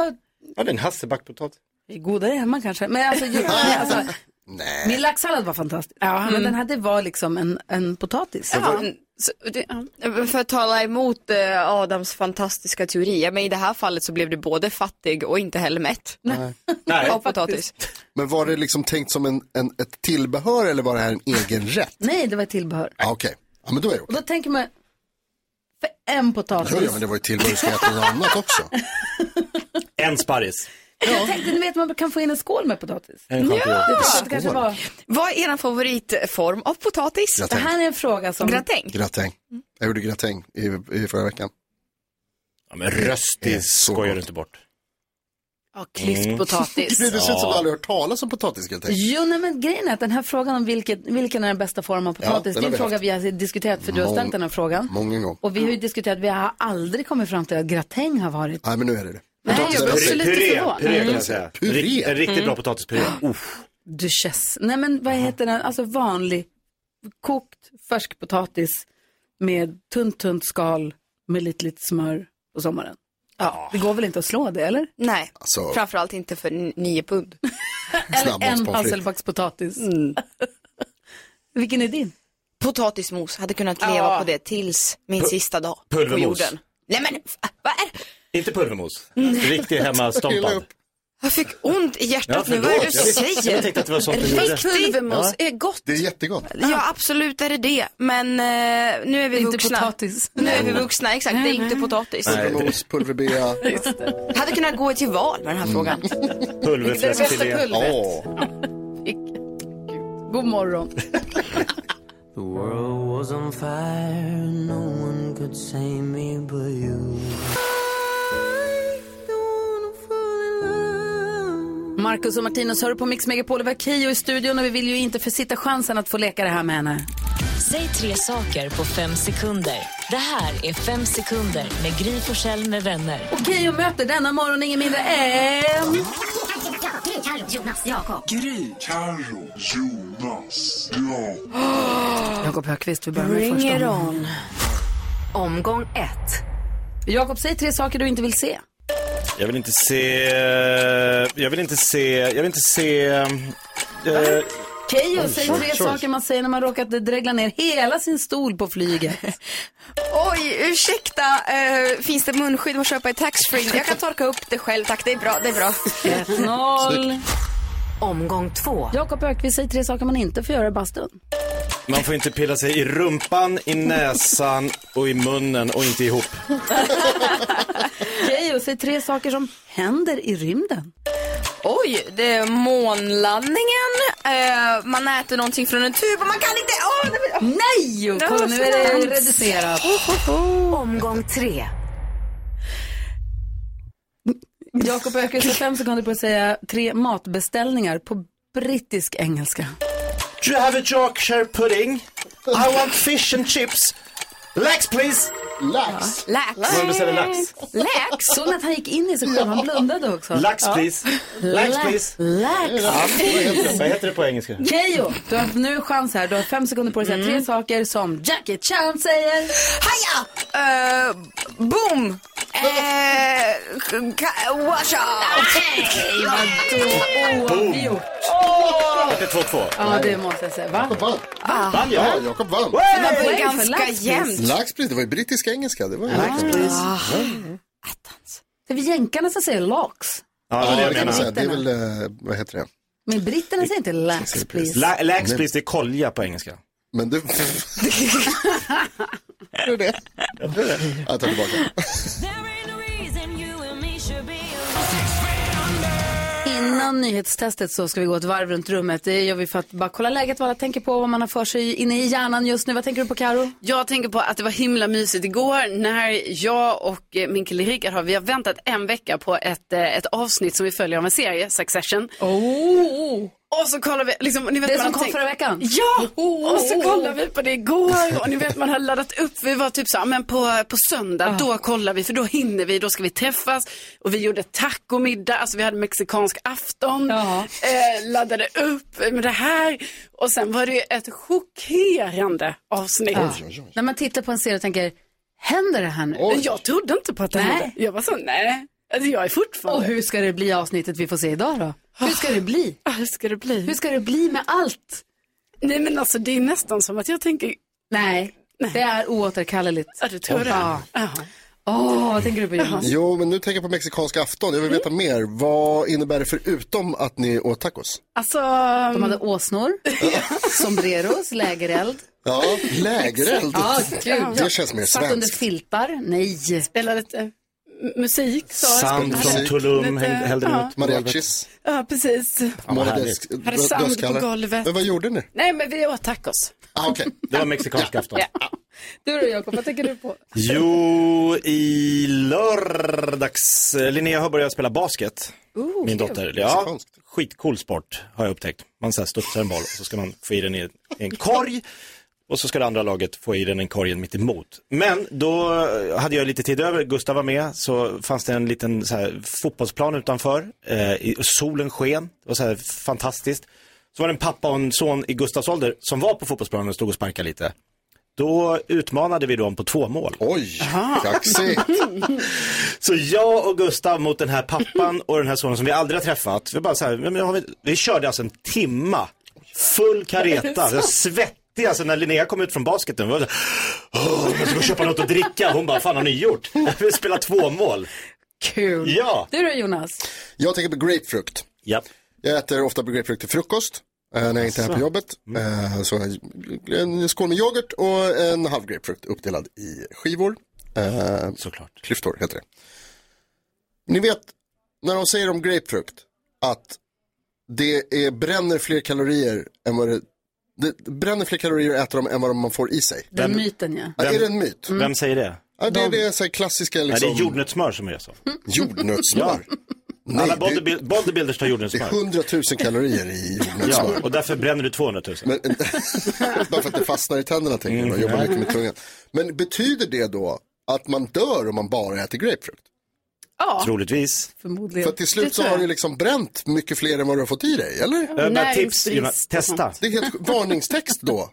S3: det är en hasselbackpotatis.
S1: godare hemma kanske. Men alltså, ju- men alltså min laxsallad var fantastisk. Men
S14: Mm.
S1: den här, det var liksom en, en potatis.
S14: Ja. Så, det, för att tala emot eh, Adams fantastiska teori, men i det här fallet så blev du både fattig och inte heller mätt.
S2: Nej.
S14: Av potatis.
S2: Men var det liksom tänkt som en, en, ett tillbehör eller var det här en egen rätt?
S1: Nej, det var ett tillbehör.
S2: Ja, Okej, ja, men då är det okej.
S1: Och då tänker man, för en potatis.
S2: Jo, ja, men det var ju tillbehör, du ska äta något annat också.
S3: En sparris.
S1: Jag tänkte, ni vet man kan få in en skål med potatis.
S3: En champinjon.
S1: Det tänkte jag kanske var.
S14: Vad är er favoritform av potatis?
S2: Gratäng. Det här
S1: är en fråga som...
S14: Gratäng?
S2: Gratäng. Jag gjorde gratäng i, i förra veckan.
S3: Ja, men röstig skojar du inte bort. Mm.
S1: Ja,
S2: Mm. Det ser ut som att du aldrig hört talas om potatisgratäng.
S1: Jo, nej, men grejen är att den här frågan om vilket, vilken är den bästa formen av
S2: Ja,
S1: potatis,
S2: den
S1: det är
S2: har
S1: en
S2: vi
S1: fråga
S2: haft.
S1: vi har diskuterat, för du har
S2: Mång-
S1: ställt den här frågan.
S2: Många gånger.
S1: Och vi har ju diskuterat, vi har aldrig kommit fram till att gratäng har varit.
S2: Nej, men nu är det det.
S1: Nej, jag
S2: Potatis-
S1: blev också lite
S3: Puré,
S1: förvånad.
S3: puré kan
S1: Mm.
S3: jag säga.
S2: Puré?
S3: Rik- En riktigt
S1: Mm.
S3: bra potatispuré. Uff.
S1: Duchess. Nej, men
S2: Mm-hmm.
S1: vad heter den? Alltså vanlig, kokt färskpotatis med tunt, tunt skal med lite, lite smör på sommaren. Ja, det går väl inte att slå det, eller?
S14: Nej,
S2: Ah. Alltså-
S14: framförallt inte för n- nio pund.
S1: Eller en hasselbackspotatis. Vilken är din? Ah.
S14: Potatismos, hade kunnat leva
S1: Ja.
S14: på det tills min
S3: Pu-
S14: sista dag på
S3: pulvermos.
S14: jorden. Nej men, f- vad är
S3: Inte pulvermos.
S14: Nej.
S3: Riktig hemmastompad.
S14: Jag fick ont i hjärtat
S3: Ja,
S14: nu,
S3: förlåt.
S14: vad är det du
S3: Jag-
S14: säger?
S3: jag tänkte att det var sånt du gjorde.
S14: Riktigt.
S3: Pulvermos
S2: är
S14: gott.
S2: Det är jättegott.
S14: Ja, absolut är det det. Men eh, nu är vi
S1: Ah. Inte
S14: vuxna.
S1: potatis.
S14: Nu är vi vuxna, exakt. det är inte potatis.
S2: Pulvermos, pulverbea.
S14: Hade kunnat gå till val med den här frågan. Vilket är det bästa
S2: Pulverfläskfilé.
S14: pulvret?
S1: God morgon.
S15: The world was on fire, no one could save me but you.
S1: Marcus och Martinus hör på Mix Megapol och vi har Keyyo i studion och vi vill ju inte försitta chansen att få leka det här med henne.
S7: Säg tre saker på fem sekunder. Det här är Fem sekunder med Gry Forssell med vänner.
S1: Och Keyyo möter denna morgon ingen mindre än...
S16: Gry, Carro, Jonas, Jakob.
S15: Gry, Carro, Jonas, Jakob.
S1: Jakob Högqvist, vi börjar med
S15: Bring
S1: första
S15: it
S1: omgången. Omgång ett. Jakob, säg tre saker du inte vill se.
S3: Jag vill inte se... eh, Jag vill inte se... Jag vill inte se... eh,
S1: Keyyo,
S3: Oj,
S1: säg
S3: oj,
S1: tre
S3: oj.
S1: saker man säger när man råkat dregla ner hela sin stol på flyget.
S14: Oj, ursäkta. eh, finns det munskydd man köper i taxfree? Jag kan torka upp det själv tack, det är bra. Det är bra.
S1: 1-0. Omgång två. Jakob Högqvist, säg tre saker man inte får göra i bastun.
S3: Man får inte pilla sig i rumpan, i näsan och i munnen och inte ihop.
S1: Keyyo, säg tre saker som händer i rymden.
S14: Oj, det är månlandningen. eh, man äter någonting från en tub och man kan inte... Åh, nej, men- åh.
S1: Nej,
S14: Det var
S1: kolla,
S14: så
S1: nu är det
S14: sant.
S1: reducerat. Omgång tre. Jakob Öqvist har fem sekunder på att säga tre matbeställningar på brittisk engelska.
S3: Do you have a Yorkshire pudding? I want fish and chips. Lax please!
S2: Lax?
S1: Lax.
S3: Man beställer lax.
S1: Lax. Såg att han gick in i sig själv? Han blundade också.
S3: Lax
S1: Ja.
S3: please. Lax
S1: La-
S3: please.
S1: Lax.
S3: Ja, vad heter- Vad heter det på engelska?
S1: Keyyo, du har nu chans här. Du har fem sekunder på dig att säga
S3: Mm.
S1: tre saker som Jackie Chan säger. Haja!
S14: Eh, boom! Eh, k- ka- wash out!
S1: Boom!
S3: Det är 2-2.
S1: Ja, det måste jag säga. Va? Jakob
S2: vann.
S1: Va?
S2: Vann jag? Ja, Jakob vann.
S1: Det var poäng för Laxpris.
S2: Laxpris, det var ju brittisk engelska. Det var ju laxpris.
S1: Ah. Det är väl jänkarna som säger lax.
S2: Ja, det, var det,
S1: jag
S2: jag kan man säga.
S1: menade.
S2: det är väl, eh, vad heter det?
S1: Men britterna säger inte lax, please.
S3: La- lax please, det är kolja på engelska.
S2: Men du... Tror du det?
S3: Jag tror det.
S2: Jag tar tillbaka.
S1: Innan nyhetstestet så ska vi gå ett varv runt rummet. Det gör vi för att bara kolla läget, vad alla tänker på, vad man har för sig inne i hjärnan just nu. Vad tänker du på Karo?
S4: Jag tänker på att det var himla mysigt igår när jag och eh, min kille Rickard har, vi har väntat en vecka på ett, eh, ett avsnitt som vi följer av en serie, Succession.
S1: Oh.
S4: Och så kollar vi, liksom, ni vet
S1: Det
S4: man
S1: som
S4: har
S1: kom
S4: tänkt-
S1: förra veckan?
S4: Ja!
S1: Oh.
S4: Och så kollar vi på det igår och ni vet man har laddat upp, vi var typ så här, men på, på söndag då kollar vi för då hinner vi, då ska vi träffas. Och vi gjorde tacomiddag, alltså vi hade mexikansk afton, eh, laddade upp med det här. Och sen var det ju ett chockerande avsnitt.
S1: Ja. När man tittar på en serie och tänker, händer det här nu?
S4: Men jag trodde inte på att det
S1: Nej.
S4: hände. Jag var så, nej. Alltså jag är fortfarande...
S1: Och hur ska det bli i avsnittet vi får se idag då? Hur ska det bli?
S4: Hur ska det bli?
S1: Hur ska det bli med allt?
S4: Nej men alltså det är nästan som att jag tänker...
S1: Nej, det är oåterkalleligt.
S4: Ja, du tror det.
S1: Ja. Åh, vad tänker du på Jonas? Mm.
S2: Jo, men nu tänker jag på mexikansk afton. Jag vill veta mer. Vad innebär det förutom att ni åt tacos?
S4: Alltså...
S1: De hade åsnor, sombreros, lägereld.
S2: Ja, lägereld.
S1: Ja, gud.
S2: det känns mer
S1: Satt under
S2: svenskt.
S1: filtar. Nej.
S4: Spelade lite eh, m- musik. Så
S3: Sand från Tulum hängde- hällde
S4: ja.
S3: ut. på golvet.
S2: Mariachis.
S4: Ja, precis.
S2: Målade
S3: härligt.
S4: Hade sand på golvet.
S2: Men vad gjorde ni?
S4: Nej, men vi åt tacos.
S2: Ah, okay.
S3: Det var mexikansk afton.
S1: Du då Jakob, vad tänker du på?
S3: Jo, i lördags. Linnea har börjat spela basket.
S1: Ooh,
S3: Min
S1: kul.
S3: dotter. Ja, skitcool sport har jag upptäckt. Man så här studsar en boll och så ska man få i den i en- i en korg. Och så ska det andra laget få i den en korgen mitt emot. Men då hade jag lite tid över, Gustav var med, så fanns det en liten så här, fotbollsplan utanför. Eh, i- och solen sken, det var så här fantastiskt. Så var det en pappa och en son i Gustavs ålder som var på fotbollsplanen och stod och sparkade lite. Då utmanade vi dem på två mål.
S2: Oj, kaxigt.
S3: så jag och Gustav mot den här pappan och den här sonen som vi aldrig har träffat. Vi, bara så här, men, har vi, vi körde alltså en timma, full
S15: Är det
S3: kareta,
S15: sant?
S3: jag svettig. Alltså när Linnea kom ut från basketen, var jag så här, "Åh, jag ska gå och köpa något att dricka. Hon bara, fan har ni gjort? Vi spelar två mål.
S1: Kul.
S3: Ja.
S1: Du då Jonas?
S2: Jag tänker på grapefrukt. Jag äter ofta grapefrukt till frukost. eh, När jag inte är här på
S3: Så. Mm.
S2: jobbet. Eh, Så jag- en skål med yoghurt och en halv grapefrukt uppdelad i skivor. Eh,
S3: Såklart.
S2: Klyftor heter det. Ni vet när de säger om grapefrukt att det är, bränner fler kalorier än vad det, det bränner fler kalorier att äta dem än vad man får i sig.
S1: Den Mm. myten ja.
S2: Ja, är det en myt?
S3: Vem säger det?
S2: Ja, det är det så här klassiska liksom.
S3: Nej, det är jordnötssmör som är så.
S2: Jordnötssmör? Nej,
S3: Alla
S2: det-
S3: bodybuil- bodybuilders tar
S2: Det är
S3: jordnötssmör.
S2: 100 000 kalorier i Alltså.
S3: Ja,
S2: jordnötssmör.
S3: och därför bränner du 200 000.
S2: Men, bara för att det fastnar i tänderna tänker jag. Jag jobbar
S3: ja.
S2: mycket med tungan. Men betyder det då att man dör om man bara äter grapefrukt?
S1: Ja.
S3: Troligtvis.
S1: Förmodligen.
S2: För till
S1: Det
S2: slut så
S1: tror
S2: har
S1: jag.
S2: du liksom bränt mycket fler än vad du har fått i dig, eller?
S3: Ja, men Näringsbrist tips, Jonas. Testa.
S2: Det är helt varningstext då.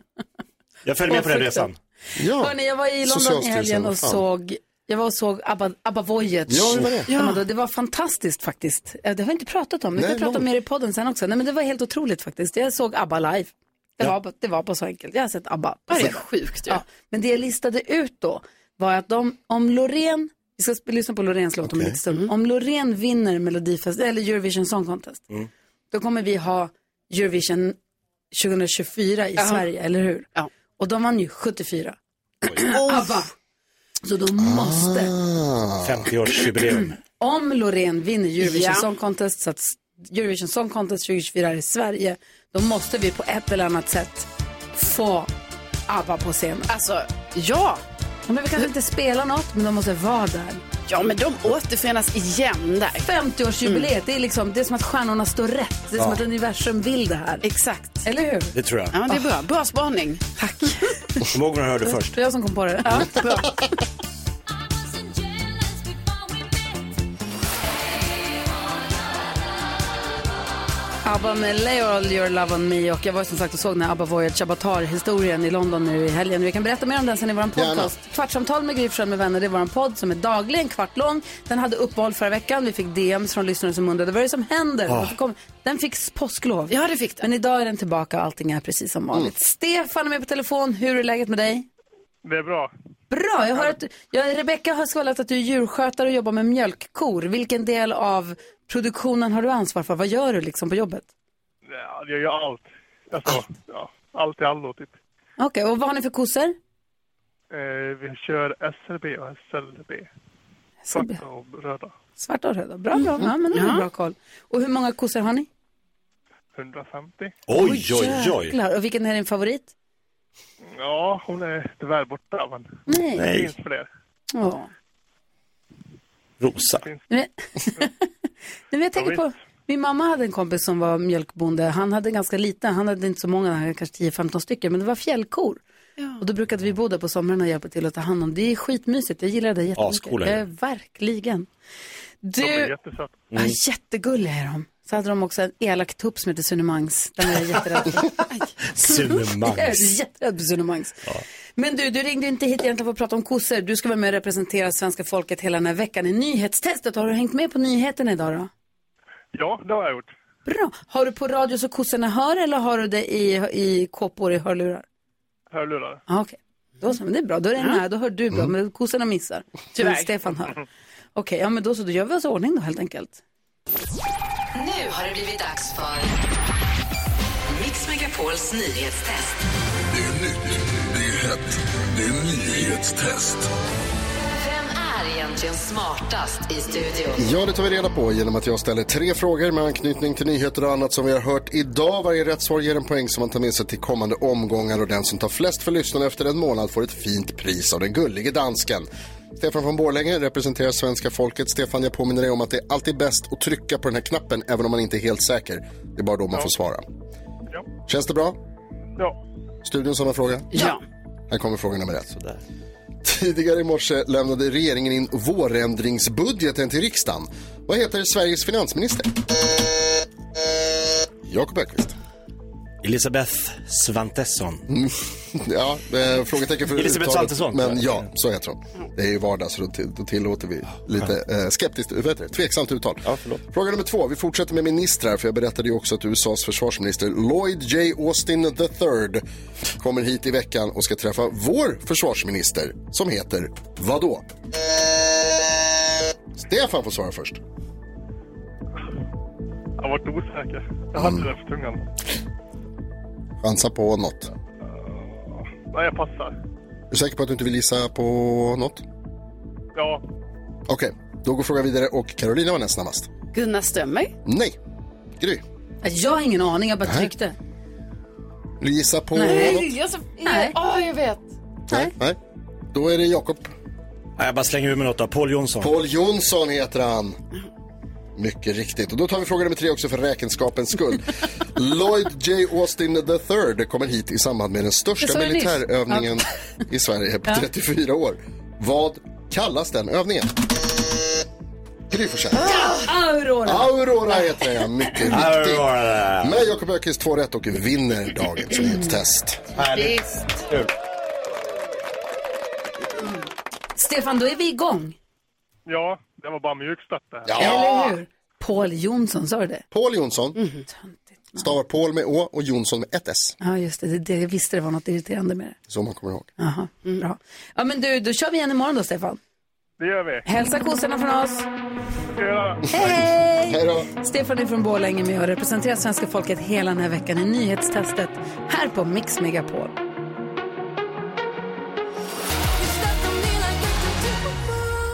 S3: Jag följer med på den resan.
S2: Ja.
S1: Hörrni, jag var i London i
S2: Socialstyrelsen,
S1: helgen och
S2: fan.
S1: såg jag var och såg ABBA, ABBA Voyage.
S2: Ja, hur var det?
S1: Ja. men då- Det var fantastiskt faktiskt. Eh, Det har vi inte pratat om, vi
S2: Nej,
S1: ska prata
S2: långt.
S1: mer i podden sen också. Nej, men det var helt otroligt faktiskt. Jag såg ABBA live. Det, var, det var bara så enkelt. Jag har sett ABBA. På det är sjukt ja. Men det jag listade ut då var att de, om Loreen, vi ska sp- lyssna på Loreens låt om en liten stund.
S2: Mm.
S1: Om Loreen vinner Melodifest, eller Eurovision Song Contest, då kommer vi ha Eurovision 2024 i
S4: Ja.
S1: Sverige, eller hur? Och de vann ju 74. ABBA. Så då måste,
S3: 50-årsjubileum.
S1: om Loreen vinner Eurovision
S4: Ja.
S1: Song Contest, så att Eurovision Song Contest 2024 är i Sverige, då måste vi på ett eller annat sätt få ABBA på scenen.
S4: Alltså, ja.
S1: De behöver kanske inte spela något, men de måste vara där.
S4: Ja, men de Mm. återförenas igen där.
S1: 50-årsjubileet, det, är liksom, det är som att stjärnorna står rätt. Det är som
S3: Ja.
S1: att universum vill det här. Exakt. Eller hur?
S3: Det tror jag.
S4: Ja, det är bra. Bra spaning.
S3: Kom ihåg när du hörde först.
S1: Det var jag som kom på det. Ja, bra. ABBA med Lay All Your Love On Me och jag var som sagt och såg den här ABBA Voyage Abatar-historien i London nu i helgen. Vi kan berätta mer om den sen i vår podcast. Kvartsamtal med Gry Forssell med vänner, det är vår podd som är daglig, en kvart lång. Den hade uppehåll förra veckan, vi fick DMs från lyssnare som undrade vad är det som händer?
S4: Ah.
S1: Varför kom- Den fick påsklov. Ja, det fick den. Men idag är den tillbaka och allting är precis som vanligt. Stefan är med på telefon, hur är läget med dig?
S16: Det är bra.
S1: Bra, jag hör att jag, Rebecka har skvallrat att du är djurskötare och jobbar med mjölkkor. Vilken del av produktionen har du ansvar för? Vad gör du liksom på jobbet?
S16: Ja, jag gör allt. Alltså, ja, allt i allo typ.
S1: Okej, och vad har ni för kossor?
S16: Eh, vi kör SLB och SLB.
S1: SLB.
S16: Svarta och röda.
S1: Svarta och röda. Bra, bra. Ja, men det är
S16: Ja.
S1: bra koll. Och hur många kossor har ni?
S16: 150.
S3: Oj, oj, oj.
S1: Jäklar. Och vilken är din favorit?
S16: Ja, hon är tyvärr borta men
S1: Nej.
S16: det finns fler.
S1: Ja.
S3: Rosa.
S1: Nej, men jag tänker på, min mamma hade en kompis som var mjölkbonde. Han hade ganska liten, han hade inte så många, han hade kanske 10-15 stycken, men det var fjällkor. Och då brukade vi bo där på somrarna och hjälpa till att ta hand om. Det är skitmysigt, jag gillar det jättemycket.
S16: Ascoola är det.
S1: Ja, verkligen.
S16: De är Mm.
S1: Du,
S16: jättesöta.
S1: ja, jättegulliga är de. Så hade de också en elak tupp som heter Sunemangs. Den är jag jätterädd för.
S3: Sunemangs.
S1: Jag är jätterädd för Sunemangs. Men du, du ringde inte hit egentligen för att prata om kossor. Du ska vara med och representera svenska folket hela den här veckan i nyhetstestet. Har du hängt med på nyheterna idag då?
S16: Ja, det har jag gjort.
S1: Bra. Har du på radio så kossorna hör eller har du det i, i kåpor i hörlurar?
S16: Hörlurar.
S1: Ah, Okej, då så, men det är bra. Då är det med, då hör du
S4: Mm.
S1: bra, men kossorna missar.
S16: Tyvärr.
S1: Men Stefan hör. Okej, ja men då så, då gör vi oss i ordning då helt enkelt.
S17: Nu har det blivit dags för Mix Megapols nyhetstest.
S18: Det är nytt, det är hett, det är nyhetstest.
S17: Vem är egentligen smartast i studion?
S2: Ja, det tar vi reda på genom att jag ställer tre frågor med anknytning till nyheter och annat som vi har hört idag. Varje rätt svar ger en poäng som man tar med sig till kommande omgångar och den som tar flest för lyssnarna efter en månad får ett fint pris av den gullige dansken. Stefan från Borlänge representerar svenska folket. Stefan, jag påminner dig om att det är alltid bäst att trycka på den här knappen även om man inte är helt säker. Det är bara då man får svara. Känns det bra?
S16: Ja.
S2: Studion samma fråga?
S4: Ja.
S2: Här kommer fråga nummer ett. Tidigare i morse lämnade regeringen in vårändringsbudgeten till riksdagen. Vad heter Sveriges finansminister? Jakob Öqvist.
S3: Elisabeth Svantesson.
S2: Ja, eh, frågetecken för
S3: Elisabeth
S2: uttalet,
S3: Svantesson, tror
S2: Men
S3: jag.
S2: ja, så heter hon. Det är ju vardag så då, till, då tillåter vi lite eh, skeptiskt, vad heter det, tveksamt uttal. Fråga nummer två. Vi fortsätter med ministrar för jag berättade ju också att USAs försvarsminister Lloyd J. Austin III kommer hit i veckan och ska träffa vår försvarsminister som heter vadå? Stefan får svara först.
S16: Jag har varit osäker. Jag
S2: Mm.
S16: hade det på tungan.
S2: Chansa på något.
S16: Nej, jag passar.
S2: Är du säker på att du inte vill gissa på något?
S16: Ja,
S2: Okej, då går frågan vidare och Carolina var näst snabbast.
S4: Gunnar Strömmer.
S2: Nej. Gry,
S1: Äh, Jag har ingen aning, jag bara
S2: Nej.
S1: tryckte.
S2: vill du gissa på något?
S4: Nej, Ah. jag, så,
S1: Nej.
S4: Åh, jag vet.
S2: Nej. Nej. Då är det Jakob.
S3: Nej, jag bara slänger ur mig något då. Paul Jonsson.
S2: Paul Jonsson heter han. Mycket riktigt. Och då tar vi fråga nummer tre också för räkenskapens skull. Lloyd J. Austin III kommer hit i samband med den
S1: Det
S2: största
S1: sa jag nyss.
S2: militärövningen i Sverige på
S1: Ja.
S2: 34 år. Vad kallas den övningen? Gry Forssell.
S1: Ah, Aurora!
S2: Aurora heter jag, mycket riktigt.
S3: Aurora.
S2: Med Jakob Öqvist 2 rätt och vinner dagens nyhetstest.
S3: Härligt. Kul.
S1: Stefan, då är vi igång.
S16: Ja, det var bara mjuk start det här.
S1: Eller hur? Mhm. Paul Jonsson, sa du det?
S2: Paul Jonsson. Stavar Paul med Å och Jonsson med ett S.
S1: Ja, just det. det, det jag visste det var något irriterande med det.
S2: Så man kommer ihåg.
S1: Jaha, bra. Ja, men du, då kör vi igen imorgon då, Stefan.
S16: Det gör vi.
S1: Hälsa kossorna från oss.
S2: Hej
S1: Hej!
S2: då.
S1: Stefan är från Borlänge med och representerar svenska folket hela den här veckan i nyhetstestet här på Mix Megapol.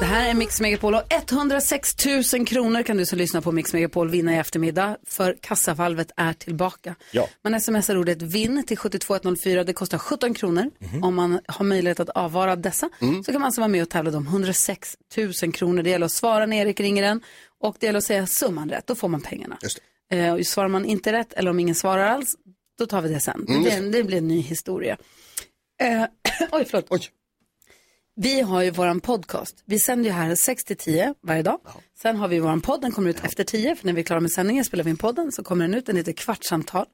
S1: Det här är Mix Megapol och 106 000 kronor kan du som lyssnar på Mix Megapol vinna i eftermiddag för kassavalvet är tillbaka.
S3: Ja.
S1: Man smsar ordet vinn till 72104. Det kostar 17 kronor. Om man har möjlighet att avvara dessa
S2: Mm.
S1: så kan man alltså vara med och tävla de 106 000 kronor. Det gäller att svara när Erik ringer en och det gäller att säga summan rätt. Då får man pengarna.
S2: Just
S1: Eh, och svarar man inte rätt eller om ingen svarar alls, då tar vi det sen.
S2: Mm,
S1: Det,
S2: just
S1: blir en, det blir en ny historia. Eh, oj, förlåt. Vi har ju våran podcast. Vi sänder ju här 6 till 10 varje dag. Sen har vi våran podd, den kommer ut efter 10. För när vi är klara med sändningen spelar vi in podden, så kommer den ut. Den heter Kvartsamtal.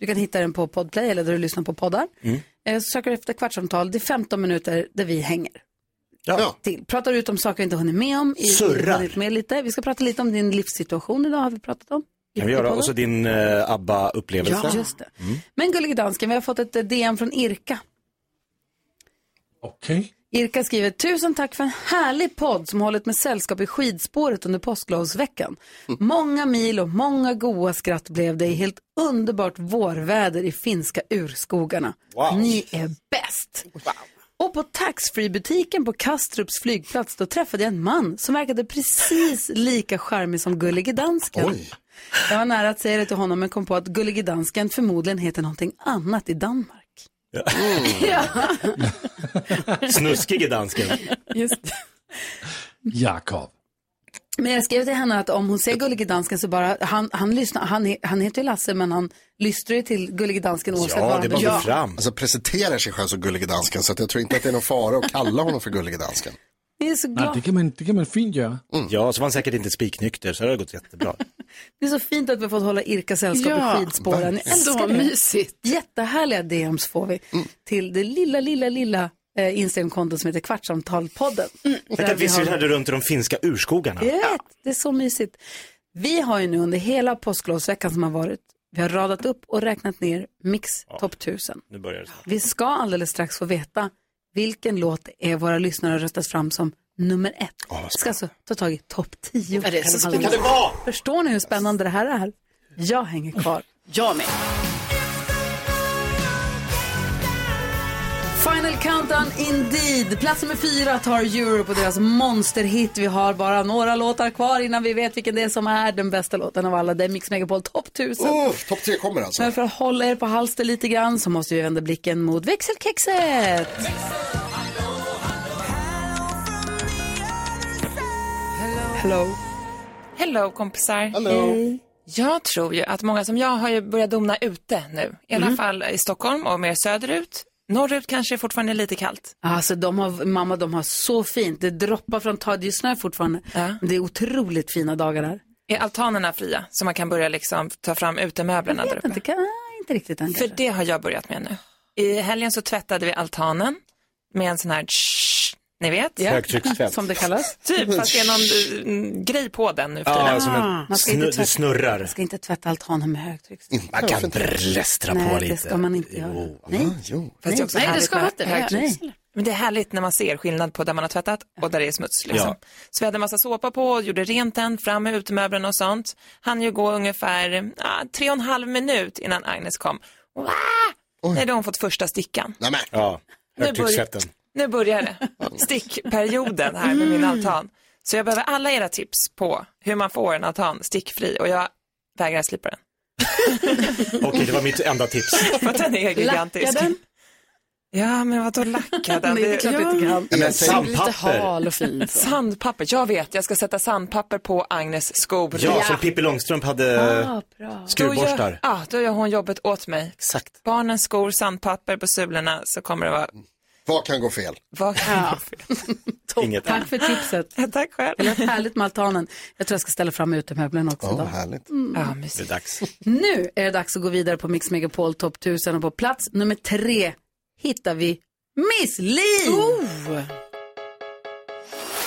S1: Du kan hitta den på Podplay eller där du lyssnar på poddar. Eh, Så söker du efter Kvartsamtal. Det är 15 minuter där vi hänger.
S3: Ja.
S1: Till. Pratar ut om saker vi inte hunnit med om. i-
S3: Surrar.
S1: hunnit Med lite. Vi ska prata lite om din livssituation idag, har vi pratat om.
S3: Kan vi göra?
S1: podden.
S3: Och så din eh, ABBA-upplevelse.
S1: Ja, just det.
S3: Mm.
S1: Men gullige dansken, vi har fått ett eh, DM från Irka.
S6: Okej.
S1: Irka skriver, tusen tack för en härlig podd som hållit med sällskap i skidspåret under påsklovsveckan. Många mil och många goa skratt blev det i helt underbart vårväder i finska urskogarna.
S15: Wow.
S1: Ni är bäst! Och på taxfree-butiken på Kastrups flygplats då träffade jag en man som verkade precis lika charmig som Gullige Dansken. Jag var nära att säga det till honom men kom på att Gullige Dansken förmodligen heter någonting annat i Danmark.
S3: Snuskige dansken.
S1: Just
S6: Jakob.
S1: Men jag skrev till henne att om hon ser Gullige Dansken så bara, han, han lyssnar, han, he- han heter ju Lasse men han lyssnar ju till Gullige Dansken oavsett vad han gör.
S2: Alltså presenterar sig själv som Gullige Dansken så att jag tror inte att det är någon fara att kalla honom för Gullige Dansken. Mm.
S1: Ni är så glada.
S6: kan man, det kan man fint göra.
S3: Ja, så var han säkert inte spiknykter, så det har gått jättebra.
S1: Det är så fint att vi har fått hålla Irka sällskap
S4: Ja,
S1: i skidspåren. Jag
S4: verkligen.
S1: älskar
S4: Så
S1: det.
S4: mysigt.
S1: Jättehärliga DMs får vi till det lilla, lilla, lilla eh, Instagramkontot som heter Kvartsamtalpodden. Mm.
S3: Tänk
S1: Där
S3: att vi
S1: har-
S3: surrade runt i de finska urskogarna.
S1: Jag vet, det är så mysigt. Vi har ju nu under hela påsklovsveckan som har varit, vi har radat upp och räknat ner Mix topp 1000.
S3: Nu börjar det snart.
S1: Vi ska alldeles strax få veta vilken låt det är våra lyssnare har röstat fram som nummer ett. Vi ska alltså ta tag i topp 10.
S4: Vad är det så
S1: Alltså,
S4: spännande? Kan det vara?
S1: Förstår ni hur spännande det här är? Jag hänger kvar.
S4: Jag med.
S1: Final Countdown Indeed. Plats nummer fyra tar Europe och deras monsterhit. Vi har bara några låtar kvar innan vi vet vilken det är som är den bästa låten av alla. Det är Mix Megapol Topp 1000.
S2: Oh, Topp tre kommer alltså.
S1: Men för att hålla er på halster lite grann så måste vi vända blicken mot växelkexet. Hello.
S19: Hello kompisar.
S2: Hello.
S19: Hej. Jag tror ju att många som jag har ju börjat domna ute nu. I alla
S1: Mm.
S19: fall i Stockholm och mer söderut. Norrut kanske fortfarande är lite kallt.
S1: Alltså de har, mamma de har så fint. Det droppar från taket. Det är snö fortfarande. Men det är otroligt fina dagar där.
S19: Är altanerna fria? Så man kan börja liksom ta fram utemöblerna där uppe.
S1: Inte, kan, inte riktigt än
S19: För det har jag börjat med nu. I helgen så tvättade vi altanen med en sån här tsch, ni vet.
S1: Ja, Högtryckstvätt. som det kallas.
S19: Typ, fast det är någon mm, grej på den nu för
S3: Ja,
S19: tiden.
S3: som en
S1: Ah. Man ska inte
S3: snu-
S1: tvätta-
S3: det snurrar.
S1: Man ska inte tvätta altanen med högtryck.
S3: Man kan blästra på
S1: Nej,
S3: lite.
S1: det ska man inte göra. Nej.
S15: Ah,
S19: Fast det är också
S1: Nej,
S19: härligt
S1: det ska
S19: med
S1: vara det.
S19: högt
S1: Nej.
S19: ljus. Men det är härligt när man ser skillnad på där man har tvättat och där det är smuts. Liksom.
S1: Ja.
S19: Så vi hade massa såpa på, gjorde rent den, fram med utemöblerna och sånt. Han ju gå ungefär ah, tre och en halv minut innan Agnes kom. Och, ah! Nej, då har hon fått första stickan.
S2: Nämen.
S3: Ja,
S19: Nu
S3: högtryckstvätten.
S19: Nu börjar det. Stickperioden här med
S1: Mm.
S19: min altan. Så jag behöver alla era tips på hur man får en altan stickfri och jag vägrar slipa den.
S3: Okej, det var mitt enda tips.
S19: För att den är gigantisk.
S3: Lacka den?
S19: Ja, men vadå lacka den?
S1: Nej, det är klart du inte kan.
S19: Ja, men
S3: Jag tänker-
S19: sandpapper.
S3: Lite hal och fin, så.
S19: Sandpapper, jag vet. Jag ska sätta sandpapper på Agnes skor.
S3: Ja, Ah, som Pippi Långstrump hade
S19: eh,
S1: Ah.
S19: Då
S3: skruvborstar.
S19: gör, ah, då gör hon jobbet åt mig.
S3: Exakt.
S19: Barnens skor, sandpapper på sulorna så kommer det vara Vad kan gå fel?
S20: Vad kan gå fel?
S19: Inget.
S1: Tack för tipset.
S20: Tack själv.
S1: Det lät härligt med altanen. Jag tror jag ska ställa fram utemöblerna också.
S19: Ja,
S1: idag.
S19: härligt.
S1: Mm. Ja,
S20: mysigt.
S4: Det är dags.
S1: Nu är det dags att gå vidare på Mix Megapol Top 1000 och på plats nummer tre hittar vi Miss Li.